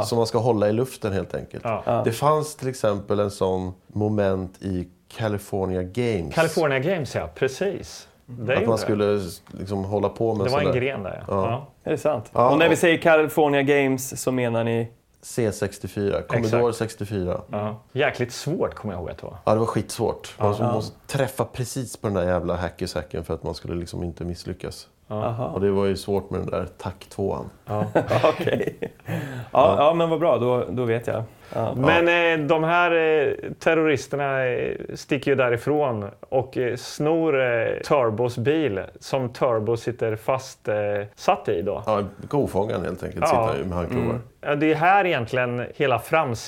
[SPEAKER 2] Som man ska hålla i luften helt enkelt. Det fanns till exempel en sån moment i California Games.
[SPEAKER 1] California Games, ja. Precis. Det
[SPEAKER 2] att
[SPEAKER 1] gjorde
[SPEAKER 2] man
[SPEAKER 1] det.
[SPEAKER 2] skulle liksom hålla på med
[SPEAKER 1] Det var
[SPEAKER 2] sån
[SPEAKER 1] en
[SPEAKER 2] där.
[SPEAKER 1] gren där, ja. ja.
[SPEAKER 3] Är det sant?
[SPEAKER 2] Ja,
[SPEAKER 3] och när vi
[SPEAKER 2] och-
[SPEAKER 3] säger California Games så menar ni?
[SPEAKER 2] C64, Commodore 64.
[SPEAKER 1] Ja. Jäkligt svårt kommer jag ihåg att det var.
[SPEAKER 2] Ja, det var skitsvårt. Man alltså, måste träffa precis på den där jävla hackersäcken för att man skulle liksom inte misslyckas. Och det var ju svårt med den där tack tvåan.
[SPEAKER 3] Okej. Ja, ja, men vad bra, då, då vet jag. Ja.
[SPEAKER 1] Men eh, de här eh, terroristerna eh, sticker ju därifrån och eh, snor eh, Turbos bil som Turbo sitter fast eh, satt i då.
[SPEAKER 2] Ja, kofångaren helt enkelt
[SPEAKER 1] Ja.
[SPEAKER 2] sitter han ju med handklovar.
[SPEAKER 1] Ja, Det är här egentligen hela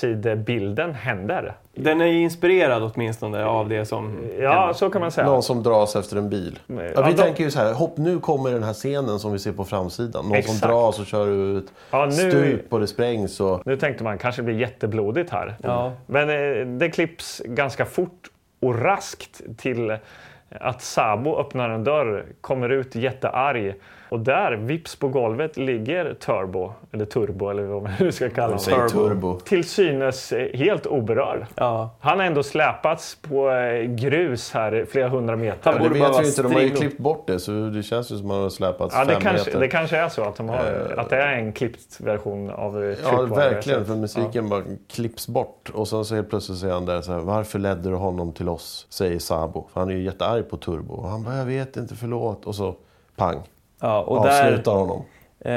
[SPEAKER 1] framsidebilden händer.
[SPEAKER 3] Den är ju inspirerad åtminstone av det som...
[SPEAKER 1] Ja, så kan man säga.
[SPEAKER 2] Någon som dras efter en bil. Ja, vi
[SPEAKER 1] ja, de-
[SPEAKER 2] tänker ju så här, hopp nu kommer den här scenen som vi ser på framsidan. Någon
[SPEAKER 1] Exakt.
[SPEAKER 2] som dras och kör ut
[SPEAKER 1] Ja, nu-
[SPEAKER 2] stup och det sprängs. Och...
[SPEAKER 1] Nu tänkte man kanske det blir jätteblodigt här.
[SPEAKER 3] Ja.
[SPEAKER 1] Men eh, det klipps ganska fort och raskt till att Sabo öppnar en dörr, kommer ut jättearg och där, vips på golvet, ligger Turbo, eller Turbo eller vad man nu ska kalla
[SPEAKER 2] Vi säger
[SPEAKER 1] honom.
[SPEAKER 2] turbo.
[SPEAKER 1] Till synes eh, helt oberörd.
[SPEAKER 3] Ja.
[SPEAKER 1] Han har ändå släpats på eh, grus här flera hundra meter.
[SPEAKER 2] Ja, det
[SPEAKER 3] Borde
[SPEAKER 2] vet
[SPEAKER 3] bara vara
[SPEAKER 2] vi inte, de har ju
[SPEAKER 3] strimlor.
[SPEAKER 2] klippt bort det så det känns ju som att man har släpats
[SPEAKER 1] Ja, det,
[SPEAKER 2] fem
[SPEAKER 1] kanske,
[SPEAKER 2] meter.
[SPEAKER 1] det kanske är så att, de har, att det är en klippt version av eh,
[SPEAKER 2] Ja,
[SPEAKER 1] Tripwire.
[SPEAKER 2] verkligen. För musiken bara klipps bort. Och sen så helt plötsligt säger han där så här, varför ledde du honom till oss? Säger Sabo. För han är ju jättearg på Turbo. Och han bara, jag vet inte, förlåt. Och så pang,
[SPEAKER 3] Ja, och där,
[SPEAKER 2] avslutar honom.
[SPEAKER 3] eh,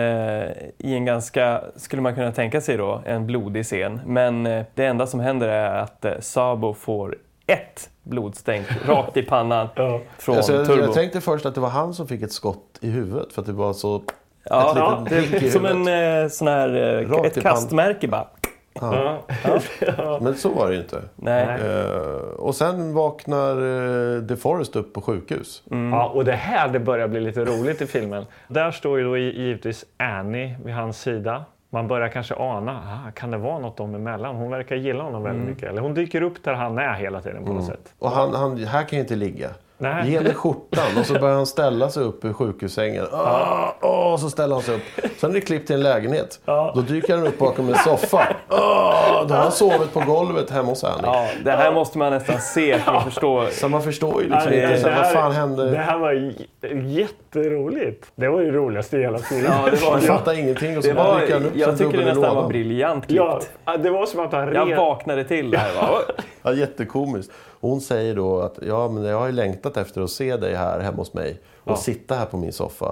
[SPEAKER 3] i en ganska, skulle man kunna tänka sig då, en blodig scen. Men eh, det enda som händer är att eh, Sabo får ett blodstänk rakt i pannan
[SPEAKER 1] Ja.
[SPEAKER 3] från
[SPEAKER 2] Alltså, jag,
[SPEAKER 3] Turbo.
[SPEAKER 2] jag tänkte först att det var han som fick ett skott i huvudet. För att det var så...
[SPEAKER 3] ja, ja,
[SPEAKER 2] ett
[SPEAKER 3] det
[SPEAKER 2] litet prick
[SPEAKER 3] är
[SPEAKER 2] i
[SPEAKER 3] som en
[SPEAKER 2] huvudet.
[SPEAKER 3] eh, sån här, eh,
[SPEAKER 2] Rakt i
[SPEAKER 3] ett
[SPEAKER 2] pannan.
[SPEAKER 3] kastmärke bara.
[SPEAKER 1] Ja.
[SPEAKER 2] Men så var det ju inte.
[SPEAKER 3] Nej.
[SPEAKER 1] Nej.
[SPEAKER 2] Eh, och sen vaknar uh, DeForest upp på sjukhus.
[SPEAKER 3] Mm.
[SPEAKER 1] Mm. Ja, och det här det börjar bli lite roligt i filmen. Där står ju då i- givetvis Annie vid hans sida. Man börjar kanske ana, ah, kan det vara något dem emellan? Hon verkar gilla honom väldigt mycket. Eller hon dyker upp där han är hela tiden på något sätt.
[SPEAKER 2] Och han, han, här kan jag inte ligga.
[SPEAKER 1] Nej.
[SPEAKER 2] Ge mig skjortan. Och så börjar han ställa sig upp ur sjukhussängen. Ah, ah, så ställer han sig upp. Sen är det klipp till en lägenhet. Då dyker han upp bakom en soffa. Ah, då har han sovit på golvet hemma hos Annie.
[SPEAKER 3] Ja, det här måste man nästan se för att förstå.
[SPEAKER 2] Så man förstår ju liksom
[SPEAKER 1] det,
[SPEAKER 2] inte. Så här, vad
[SPEAKER 1] här-
[SPEAKER 2] fan hände?
[SPEAKER 1] det här var j- jätteroligt. Det var ju roligast i hela filmen.
[SPEAKER 3] Ja, det
[SPEAKER 2] Man
[SPEAKER 3] var,
[SPEAKER 2] fattar ingenting. Och så
[SPEAKER 3] det var,
[SPEAKER 2] dyker han upp som
[SPEAKER 3] jag tycker det
[SPEAKER 2] gubben i
[SPEAKER 3] nästan var
[SPEAKER 2] lådan.
[SPEAKER 3] briljant
[SPEAKER 1] Ja,
[SPEAKER 3] klippt.
[SPEAKER 1] det var som att han
[SPEAKER 3] Jag
[SPEAKER 1] red-
[SPEAKER 3] vaknade till där. va?
[SPEAKER 2] Ja, jättekomiskt. Och Hon säger då att ja, men jag har ju längtat efter att se dig här hemma hos mig och sitta här på min soffa.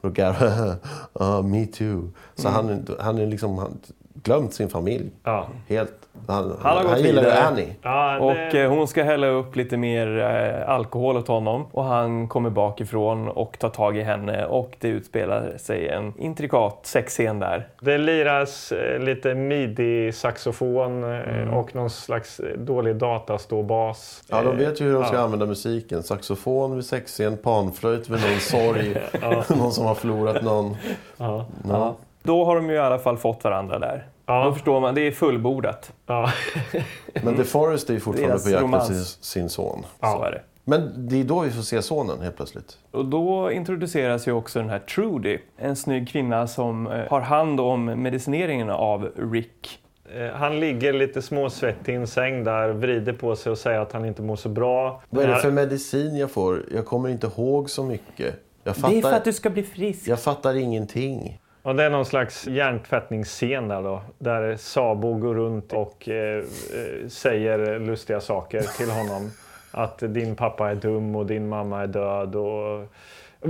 [SPEAKER 2] Och då garvar han. "Ah, me too. Så
[SPEAKER 3] Mm.
[SPEAKER 2] han, han är liksom han, glömt sin familj.
[SPEAKER 1] Ja.
[SPEAKER 2] Helt. Han,
[SPEAKER 3] har
[SPEAKER 2] han,
[SPEAKER 3] gått
[SPEAKER 2] gillar ju
[SPEAKER 3] vidare.
[SPEAKER 2] Annie.
[SPEAKER 1] Ja, det,
[SPEAKER 3] Och eh, hon ska hälla upp lite mer eh, alkohol åt honom och han kommer bakifrån och tar tag i henne och det utspelar sig en intrikat sexscen där.
[SPEAKER 1] Det liras eh, lite midi-saxofon eh, och någon slags eh, dålig dataståbas.
[SPEAKER 2] Ja, de vet ju hur de ska använda musiken. Saxofon vid sexscen, panflöjt vid någon sorg. någon som har förlorat någon.
[SPEAKER 1] Ja.
[SPEAKER 2] Ja.
[SPEAKER 3] Då har de ju i alla fall fått varandra där.
[SPEAKER 1] Ja.
[SPEAKER 3] Då förstår man, det är fullbordat.
[SPEAKER 1] Ja.
[SPEAKER 2] Men The Forest är ju fortfarande
[SPEAKER 3] Mm. Deras
[SPEAKER 2] på jakt efter sin,
[SPEAKER 3] romans.
[SPEAKER 2] sin son.
[SPEAKER 3] Så är det.
[SPEAKER 2] Men det är då vi får se sonen helt plötsligt.
[SPEAKER 3] Och då introduceras ju också den här Trudy, en snygg kvinna som eh, har hand om medicineringen av Rick.
[SPEAKER 1] Eh, Han ligger lite småsvettig i en säng där, vrider på sig och säger att han inte mår så bra.
[SPEAKER 2] Vad är det
[SPEAKER 1] Den här-
[SPEAKER 2] för medicin jag får? Jag kommer inte ihåg så mycket. Jag fattar,
[SPEAKER 3] Det är för att du ska bli frisk.
[SPEAKER 2] jag fattar ingenting.
[SPEAKER 1] Ja, det är någon slags hjärntvättningsscen där då. Där Sabo går runt och eh, eh, säger lustiga saker till honom. Att din pappa är dum och din mamma är död. Och...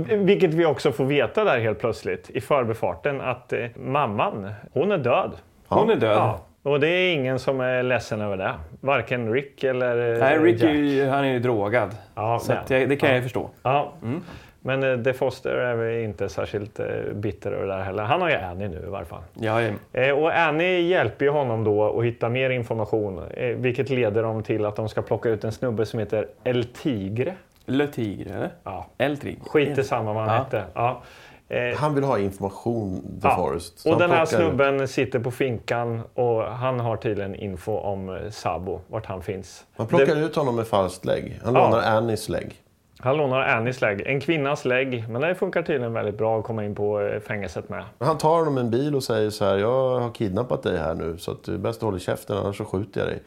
[SPEAKER 1] Vilket vi också får veta där helt plötsligt i förbifarten att eh, mamman, hon är död.
[SPEAKER 3] Hon är död.
[SPEAKER 1] Ja. Och det är ingen som är ledsen över det. Varken Rick eller eh,
[SPEAKER 3] Nej, Rick är
[SPEAKER 1] Jack.
[SPEAKER 3] ju, han är ju drogad.
[SPEAKER 1] Ja,
[SPEAKER 3] Så att jag, det kan jag ju förstå. Mm.
[SPEAKER 1] Ja. Men eh, De Foster är väl inte särskilt eh, bitter över det här heller. Han har ju Annie nu i varje fall.
[SPEAKER 3] Jag är...
[SPEAKER 1] Eh, Och Annie hjälper ju honom då att hitta mer information, eh, vilket leder dem till att de ska plocka ut en snubbe som heter El Tigre.
[SPEAKER 3] Le Tigre, eller?
[SPEAKER 1] Ja.
[SPEAKER 3] El Tigre.
[SPEAKER 1] Skit i samma vad han
[SPEAKER 3] Ja.
[SPEAKER 1] hette. Ja. Eh,
[SPEAKER 2] Han vill ha information, The
[SPEAKER 1] ja.
[SPEAKER 2] Forest. Så
[SPEAKER 1] Och
[SPEAKER 2] han
[SPEAKER 1] den här
[SPEAKER 2] plockar-
[SPEAKER 1] snubben sitter på finkan och han har tydligen info om eh, Sabo, vart han finns.
[SPEAKER 2] Man plockar
[SPEAKER 1] Det-
[SPEAKER 2] ut honom med falskt lägg. Han
[SPEAKER 1] Ja.
[SPEAKER 2] lånar Annies lägg.
[SPEAKER 1] Han lånar Annies lägg, en kvinnas lägg, men det funkar tydligen väldigt bra att komma in på eh, fängelset med.
[SPEAKER 2] Han tar honom i en bil och säger så här. Jag har kidnappat dig här nu så att du är bäst håller käften annars så skjuter jag dig.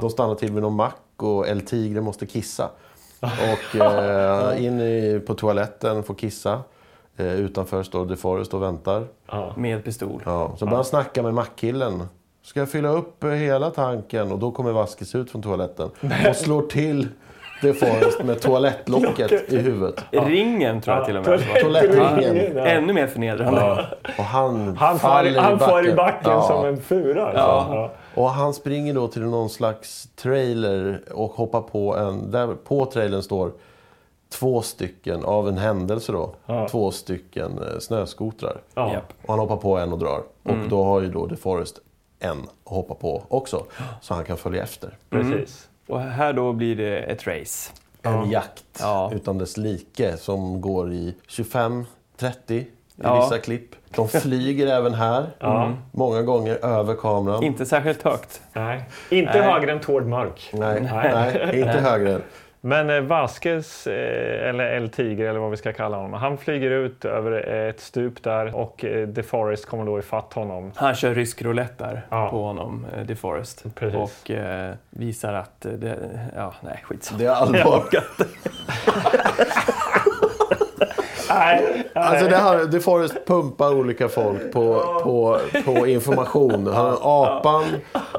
[SPEAKER 2] De stannar till vid någon mack och El Tigre måste kissa. Och eh, in i, på toaletten får kissa. Eh, utanför står The Forest och väntar.
[SPEAKER 3] Med pistol.
[SPEAKER 2] Ja, så börjar han snacka med mackkillen. Ska jag fylla upp eh, hela tanken? Och då kommer Vaskis ut från toaletten och slår till The Forest med toalettlocket i huvudet.
[SPEAKER 3] Ringen tror jag till och med.
[SPEAKER 1] Toalett-
[SPEAKER 2] Toalettringen.
[SPEAKER 1] Ja.
[SPEAKER 3] Ännu mer förnedrande.
[SPEAKER 2] Och han,
[SPEAKER 1] Han far,
[SPEAKER 2] faller
[SPEAKER 1] i- han far i backen
[SPEAKER 2] Ja.
[SPEAKER 1] som en fura. alltså. Ja.
[SPEAKER 2] Och han springer då till någon slags trailer och hoppar på en... Där på trailern står två stycken, av en händelse då, två stycken eh, snöskotrar.
[SPEAKER 1] Ja.
[SPEAKER 3] Japp.
[SPEAKER 2] Och han hoppar på en och drar. Och
[SPEAKER 3] Mm.
[SPEAKER 2] då har ju då The Forest en att hoppa på också. Så han kan följa efter.
[SPEAKER 1] Precis.
[SPEAKER 3] Och här då blir det ett race.
[SPEAKER 2] En jakt
[SPEAKER 3] Ja.
[SPEAKER 2] utan dess like som går i 25, 30 i
[SPEAKER 3] Ja.
[SPEAKER 2] vissa klipp. De flyger även här.
[SPEAKER 3] Mm.
[SPEAKER 2] Många gånger över kameran.
[SPEAKER 3] Inte särskilt högt.
[SPEAKER 1] Nej. Inte högre än Tord Mörk.
[SPEAKER 2] Nej, nej, inte högre.
[SPEAKER 1] Men eh, Vasquez, eh, eller El Tiger eller vad vi ska kalla honom, han flyger ut över eh, ett stup där och eh, The Forest kommer då ifatt honom.
[SPEAKER 3] Han kör rysk roulette där
[SPEAKER 1] Ja.
[SPEAKER 3] på honom, eh, DeForest.
[SPEAKER 1] Precis.
[SPEAKER 3] Och eh, visar att eh, det... Ja, nej, skitsamma.
[SPEAKER 2] Det är allvar.
[SPEAKER 1] Nej,
[SPEAKER 2] Alltså det här, The Forest pumpar olika folk på, på, på information. Han har apan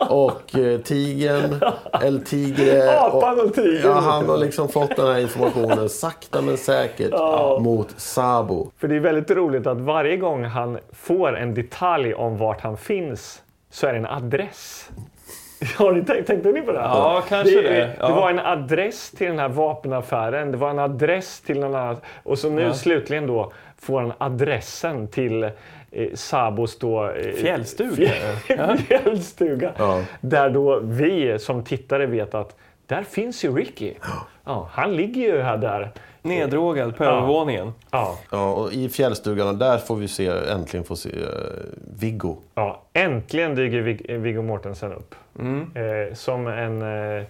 [SPEAKER 2] och eh, tigern. El Tigre.
[SPEAKER 1] Apan och tigern.
[SPEAKER 2] Ja, han har liksom fått den här informationen sakta men säkert mot Sabo.
[SPEAKER 1] För det är väldigt roligt att varje gång han får en detalj om vart han finns så är det en adress. Har ni tänkt, tänkte ni på det? här?
[SPEAKER 3] Ja, kanske det. Ja.
[SPEAKER 1] Det var en adress till den här vapenaffären. Det var en adress till någon annan. Och så nu slutligen då får han adressen till eh, Sabos då... Eh,
[SPEAKER 3] Fjällstuga.
[SPEAKER 1] fjällstuga.
[SPEAKER 2] Ja.
[SPEAKER 1] Där då vi som tittare vet att där finns ju Ricky. Ja, han ligger ju här där.
[SPEAKER 3] Neddrogad på övervåningen.
[SPEAKER 1] Ja,
[SPEAKER 2] Ja, och I fjällstugan, där får vi se, äntligen få se eh, Viggo.
[SPEAKER 1] Ja, äntligen dyker Vig- eh, Viggo Mortensen upp. Eh, som en... Eh,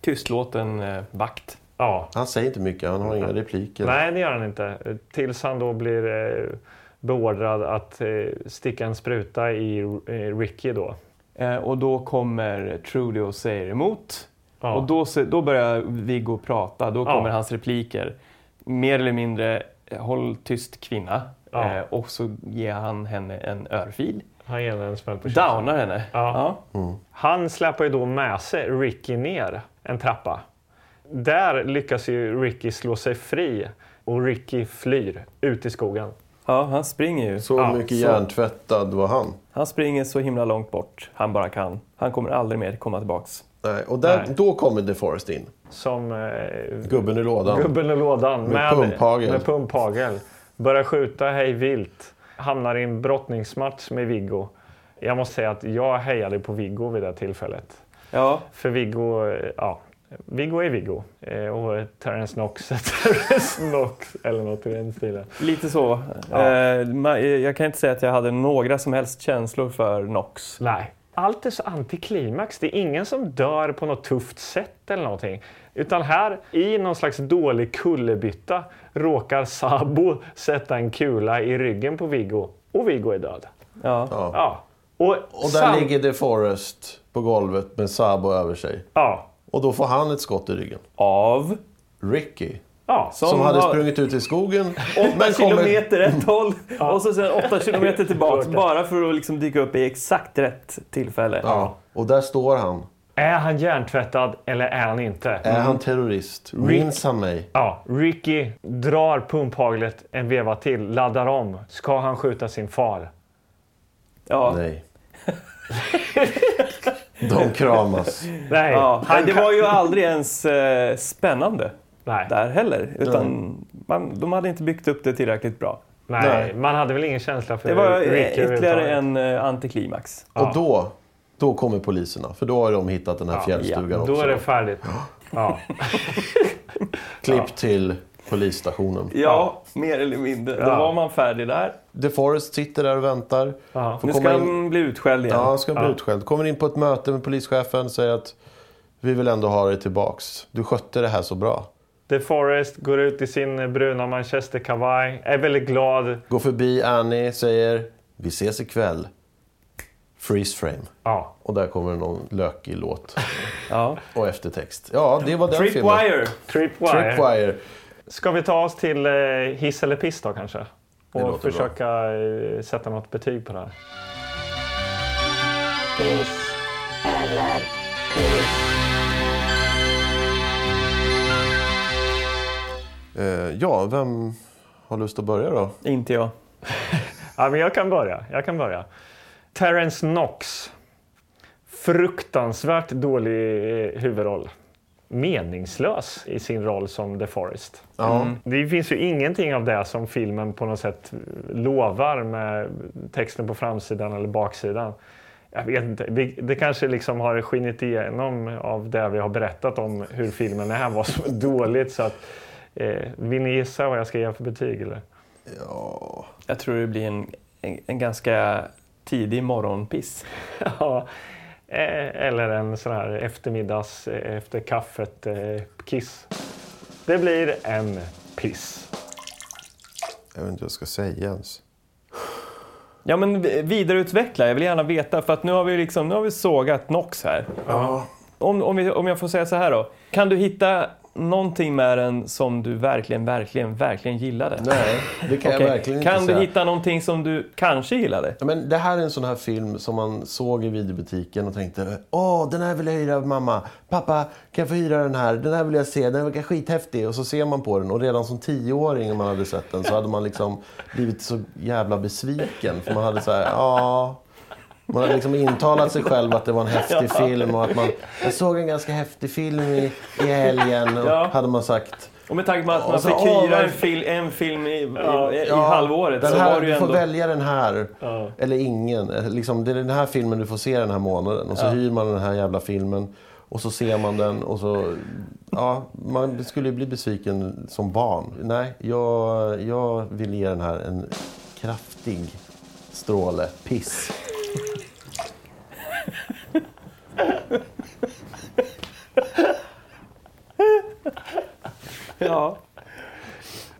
[SPEAKER 3] Tystlåten eh, vakt.
[SPEAKER 1] ja.
[SPEAKER 2] Han säger inte mycket, han har inga repliker.
[SPEAKER 1] Nej, det gör han inte. Eh, Tills han då blir eh, beordrad att eh, sticka en spruta i eh, Ricky då.
[SPEAKER 3] Eh, och då kommer Trudy och säger emot.
[SPEAKER 1] Ja.
[SPEAKER 3] Och då, se- då börjar Viggo prata. Då
[SPEAKER 1] Ja.
[SPEAKER 3] kommer hans repliker. Mer eller mindre, eh, håll tyst kvinna.
[SPEAKER 1] Ja.
[SPEAKER 3] Eh, och så ger han henne en örfil.
[SPEAKER 1] Han ger henne en smäll på käften.
[SPEAKER 3] Downar henne.
[SPEAKER 1] Ja. Han släpar ju då med sig Ricky ner en trappa. Där lyckas ju Ricky slå sig fri och Ricky flyr ut i skogen.
[SPEAKER 3] Ja, han springer ju.
[SPEAKER 2] Så
[SPEAKER 1] Ja,
[SPEAKER 2] mycket
[SPEAKER 1] så-
[SPEAKER 2] hjärntvättad var han.
[SPEAKER 3] Han springer så himla långt bort han bara kan. Han kommer aldrig mer komma tillbaks.
[SPEAKER 2] Nej, och där,
[SPEAKER 1] Nej.
[SPEAKER 2] då kommer The Forest in.
[SPEAKER 1] Som eh,
[SPEAKER 2] Gubben i lådan.
[SPEAKER 1] Gubben i lådan med,
[SPEAKER 2] pumphagel.
[SPEAKER 1] med pumphagel. Börjar skjuta hej vilt. Hamnar i en brottningsmatch med Viggo. Jag måste säga att jag hejade på Viggo vid det tillfället.
[SPEAKER 3] Ja,
[SPEAKER 1] För Viggo, eh, ja. Viggo är Viggo. Eh, Och Terrence Knox är Terrence Knox. Eller något i den stilen.
[SPEAKER 3] lite så. Eh, ma- eh, jag kan inte säga att jag hade några som helst känslor för Knox.
[SPEAKER 1] Nej. Allt är så antiklimax. Det är ingen som dör på något tufft sätt eller någonting. Utan här, i någon slags dålig kullerbytta, råkar Sabo sätta en kula i ryggen på Viggo. Och Viggo är död.
[SPEAKER 3] Ja.
[SPEAKER 1] Ja. Och,
[SPEAKER 2] Och där ligger The Forest på golvet med Sabo över sig.
[SPEAKER 1] Ja.
[SPEAKER 2] Och då får han ett skott i ryggen.
[SPEAKER 3] Av?
[SPEAKER 2] Ricky.
[SPEAKER 1] Oh, ja.
[SPEAKER 2] Som hade
[SPEAKER 3] har-
[SPEAKER 2] sprungit ut i skogen.
[SPEAKER 3] 8
[SPEAKER 2] men kommer,
[SPEAKER 3] kilometer ett håll och så sen 8 kilometer tillbaks bara för att liksom dyka upp i exakt rätt tillfälle.
[SPEAKER 2] ja, och där står han.
[SPEAKER 1] Är han hjärntvättad eller är han inte?
[SPEAKER 3] Äh.
[SPEAKER 2] Är han terrorist? Minns han mig?
[SPEAKER 1] Ja. Ricky drar pumphaglet en veva till, laddar om. Ska han skjuta sin far?
[SPEAKER 3] Ja.
[SPEAKER 2] Nej. De kramas.
[SPEAKER 1] Nej.
[SPEAKER 3] Ja.
[SPEAKER 1] Han
[SPEAKER 3] Det
[SPEAKER 1] kan-
[SPEAKER 3] var ju aldrig ens eh, spännande
[SPEAKER 1] Nej.
[SPEAKER 3] där heller. Utan man, de hade inte byggt upp det tillräckligt bra.
[SPEAKER 1] Nej.
[SPEAKER 2] Nej.
[SPEAKER 1] Man hade väl ingen känsla för
[SPEAKER 3] Det var eh,
[SPEAKER 1] Ricky
[SPEAKER 3] ytterligare
[SPEAKER 1] överhuvudtaget.
[SPEAKER 3] en eh, antiklimax.
[SPEAKER 2] Och då, då kommer poliserna. För då har de hittat den här fjällstugan också.
[SPEAKER 1] Då är det färdigt. Ja.
[SPEAKER 2] Klipp till polisstationen.
[SPEAKER 3] Ja, mer eller mindre. Då
[SPEAKER 1] Ja.
[SPEAKER 3] var man färdig där.
[SPEAKER 2] The Forest sitter där och väntar.
[SPEAKER 1] Ja.
[SPEAKER 2] Får
[SPEAKER 3] Nu ska
[SPEAKER 2] komma in-
[SPEAKER 3] han bli utskälld igen.
[SPEAKER 2] Ja, han ska bli utskälld. Kommer in på ett möte med polischefen och säger att vi vill ändå ha dig tillbaks. Du skötte det här så bra.
[SPEAKER 1] The Forest går ut i sin bruna manchesterkavaj, är väldigt glad.
[SPEAKER 2] Går förbi Annie, säger vi ses ikväll. Freeze frame.
[SPEAKER 1] Ja.
[SPEAKER 2] Och där kommer någon lökig låt
[SPEAKER 3] Ja.
[SPEAKER 2] och eftertext. Ja, det var den filmen.
[SPEAKER 3] Tripwire!
[SPEAKER 1] Tripwire.
[SPEAKER 2] Tripwire.
[SPEAKER 1] Ska vi ta oss till eh, hiss eller piss då kanske?
[SPEAKER 2] låter
[SPEAKER 1] Och
[SPEAKER 2] bra.
[SPEAKER 1] försöka eh, sätta något betyg på det här.
[SPEAKER 6] Kiss eller piss.
[SPEAKER 2] Eh, ja, vem har lust att börja då?
[SPEAKER 3] Inte jag.
[SPEAKER 1] Ja, men jag kan börja. Jag kan börja. Terrence Knox. Fruktansvärt dålig eh, huvudroll. Meningslös i sin roll som The Forest.
[SPEAKER 2] Ja.
[SPEAKER 1] Det finns ju ingenting av det som filmen på något sätt lovar med texten på framsidan eller baksidan. Jag vet inte. Det, det kanske liksom har skinit igenom av det vi har berättat om hur filmen är var så dåligt. Så att, eh, vill ni gissa vad jag ska ge för betyg? Eller?
[SPEAKER 2] ja.
[SPEAKER 3] Jag tror det blir en, en, en ganska tidig morgonpiss.
[SPEAKER 1] Ja, eh, eller en sån här eftermiddags eh, efter kaffet eh, kiss. Det blir en piss.
[SPEAKER 2] Jag vet inte vad jag ska säga ens.
[SPEAKER 3] Ja, men vi- vidareutveckla. Jag vill gärna veta, för att nu har vi, liksom, nu har vi sågat Nox här.
[SPEAKER 2] Ja.
[SPEAKER 3] Om, om, vi, om jag får säga så här då. Kan du hitta någonting med den som du verkligen, verkligen, verkligen gillade?
[SPEAKER 2] Nej, det kan
[SPEAKER 3] Okej,
[SPEAKER 2] jag verkligen
[SPEAKER 3] kan
[SPEAKER 2] inte
[SPEAKER 3] du
[SPEAKER 2] säga.
[SPEAKER 3] hitta någonting som du kanske gillade?
[SPEAKER 2] Ja, Men det här är en sån här film som man såg i videobutiken och tänkte Åh, den här vill jag hyra av mamma. Pappa, kan jag få hyra den här? Den här vill jag se. Den verkar skithäftig. Och så ser man på den och redan som tioåring om man hade sett den så hade man liksom blivit så jävla besviken. För man hade så här, ja... Man hade liksom intalat sig själv att det var en häftig film och att man... Jag såg en ganska häftig film i, i helgen och
[SPEAKER 3] Ja.
[SPEAKER 2] hade man sagt
[SPEAKER 3] Och med tanke på att
[SPEAKER 2] Och
[SPEAKER 3] man
[SPEAKER 2] så,
[SPEAKER 3] fick
[SPEAKER 2] åh,
[SPEAKER 3] hyra
[SPEAKER 2] vad-
[SPEAKER 3] en, fil, en film i, i, i, i
[SPEAKER 2] alltså, Ja,
[SPEAKER 3] halvåret
[SPEAKER 2] Den
[SPEAKER 3] så
[SPEAKER 2] här,
[SPEAKER 3] var det ju
[SPEAKER 2] du får
[SPEAKER 3] ändå...
[SPEAKER 2] välja den här eller ingen. Eh, Liksom, det är den här filmen du får se den här månaden. Och så hyr man den här jävla filmen. Och så ser man den och så... Ja, man skulle ju bli besviken som barn. Nej, jag, jag vill ge den här en kraftig stråle piss.
[SPEAKER 3] Ja.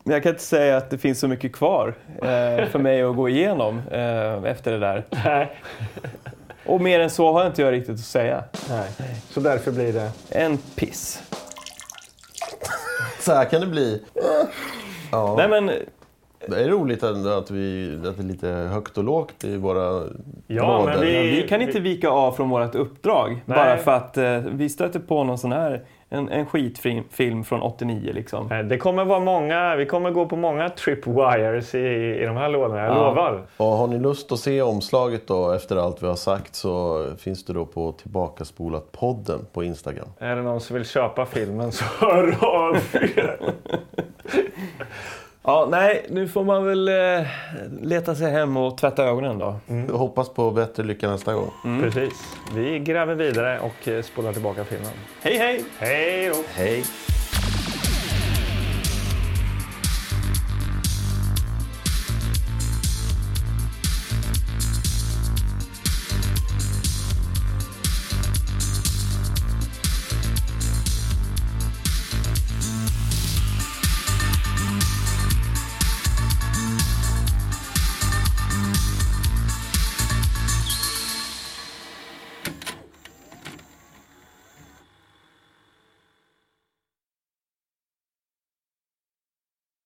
[SPEAKER 3] Men jag kan inte säga att det finns så mycket kvar eh, för mig att gå igenom eh, efter det där.
[SPEAKER 1] Nej.
[SPEAKER 3] Och mer än så har jag inte jag riktigt att säga.
[SPEAKER 1] Nej. Så därför blir det...
[SPEAKER 3] En piss.
[SPEAKER 2] Så här kan det bli. Ja.
[SPEAKER 3] Nej men,
[SPEAKER 2] Det är roligt ändå att, vi, att det är lite högt och lågt i våra
[SPEAKER 1] Ja, men vi-
[SPEAKER 3] vi kan inte vika av från vårt uppdrag bara för att eh, vi stöter på någon sån här en, en skitfilm film från 89 liksom.
[SPEAKER 1] Eh, Det kommer vara många, vi kommer gå på många tripwires i, i de här lådorna, jag
[SPEAKER 3] Ja.
[SPEAKER 1] lovar.
[SPEAKER 2] Och har ni lust att se omslaget då efter allt vi har sagt så finns det då på Tillbakaspolat podden på Instagram.
[SPEAKER 1] Är det någon som vill köpa filmen så hör av er.
[SPEAKER 3] Ja, nej, nu får man väl eh, leta sig hem och tvätta ögonen då.
[SPEAKER 2] Jag hoppas på bättre lycka nästa gång.
[SPEAKER 1] Mm. Precis. Vi gräver vidare och eh, spolar tillbaka filmen.
[SPEAKER 3] Hej, hej!
[SPEAKER 1] Hej då!
[SPEAKER 2] Hej!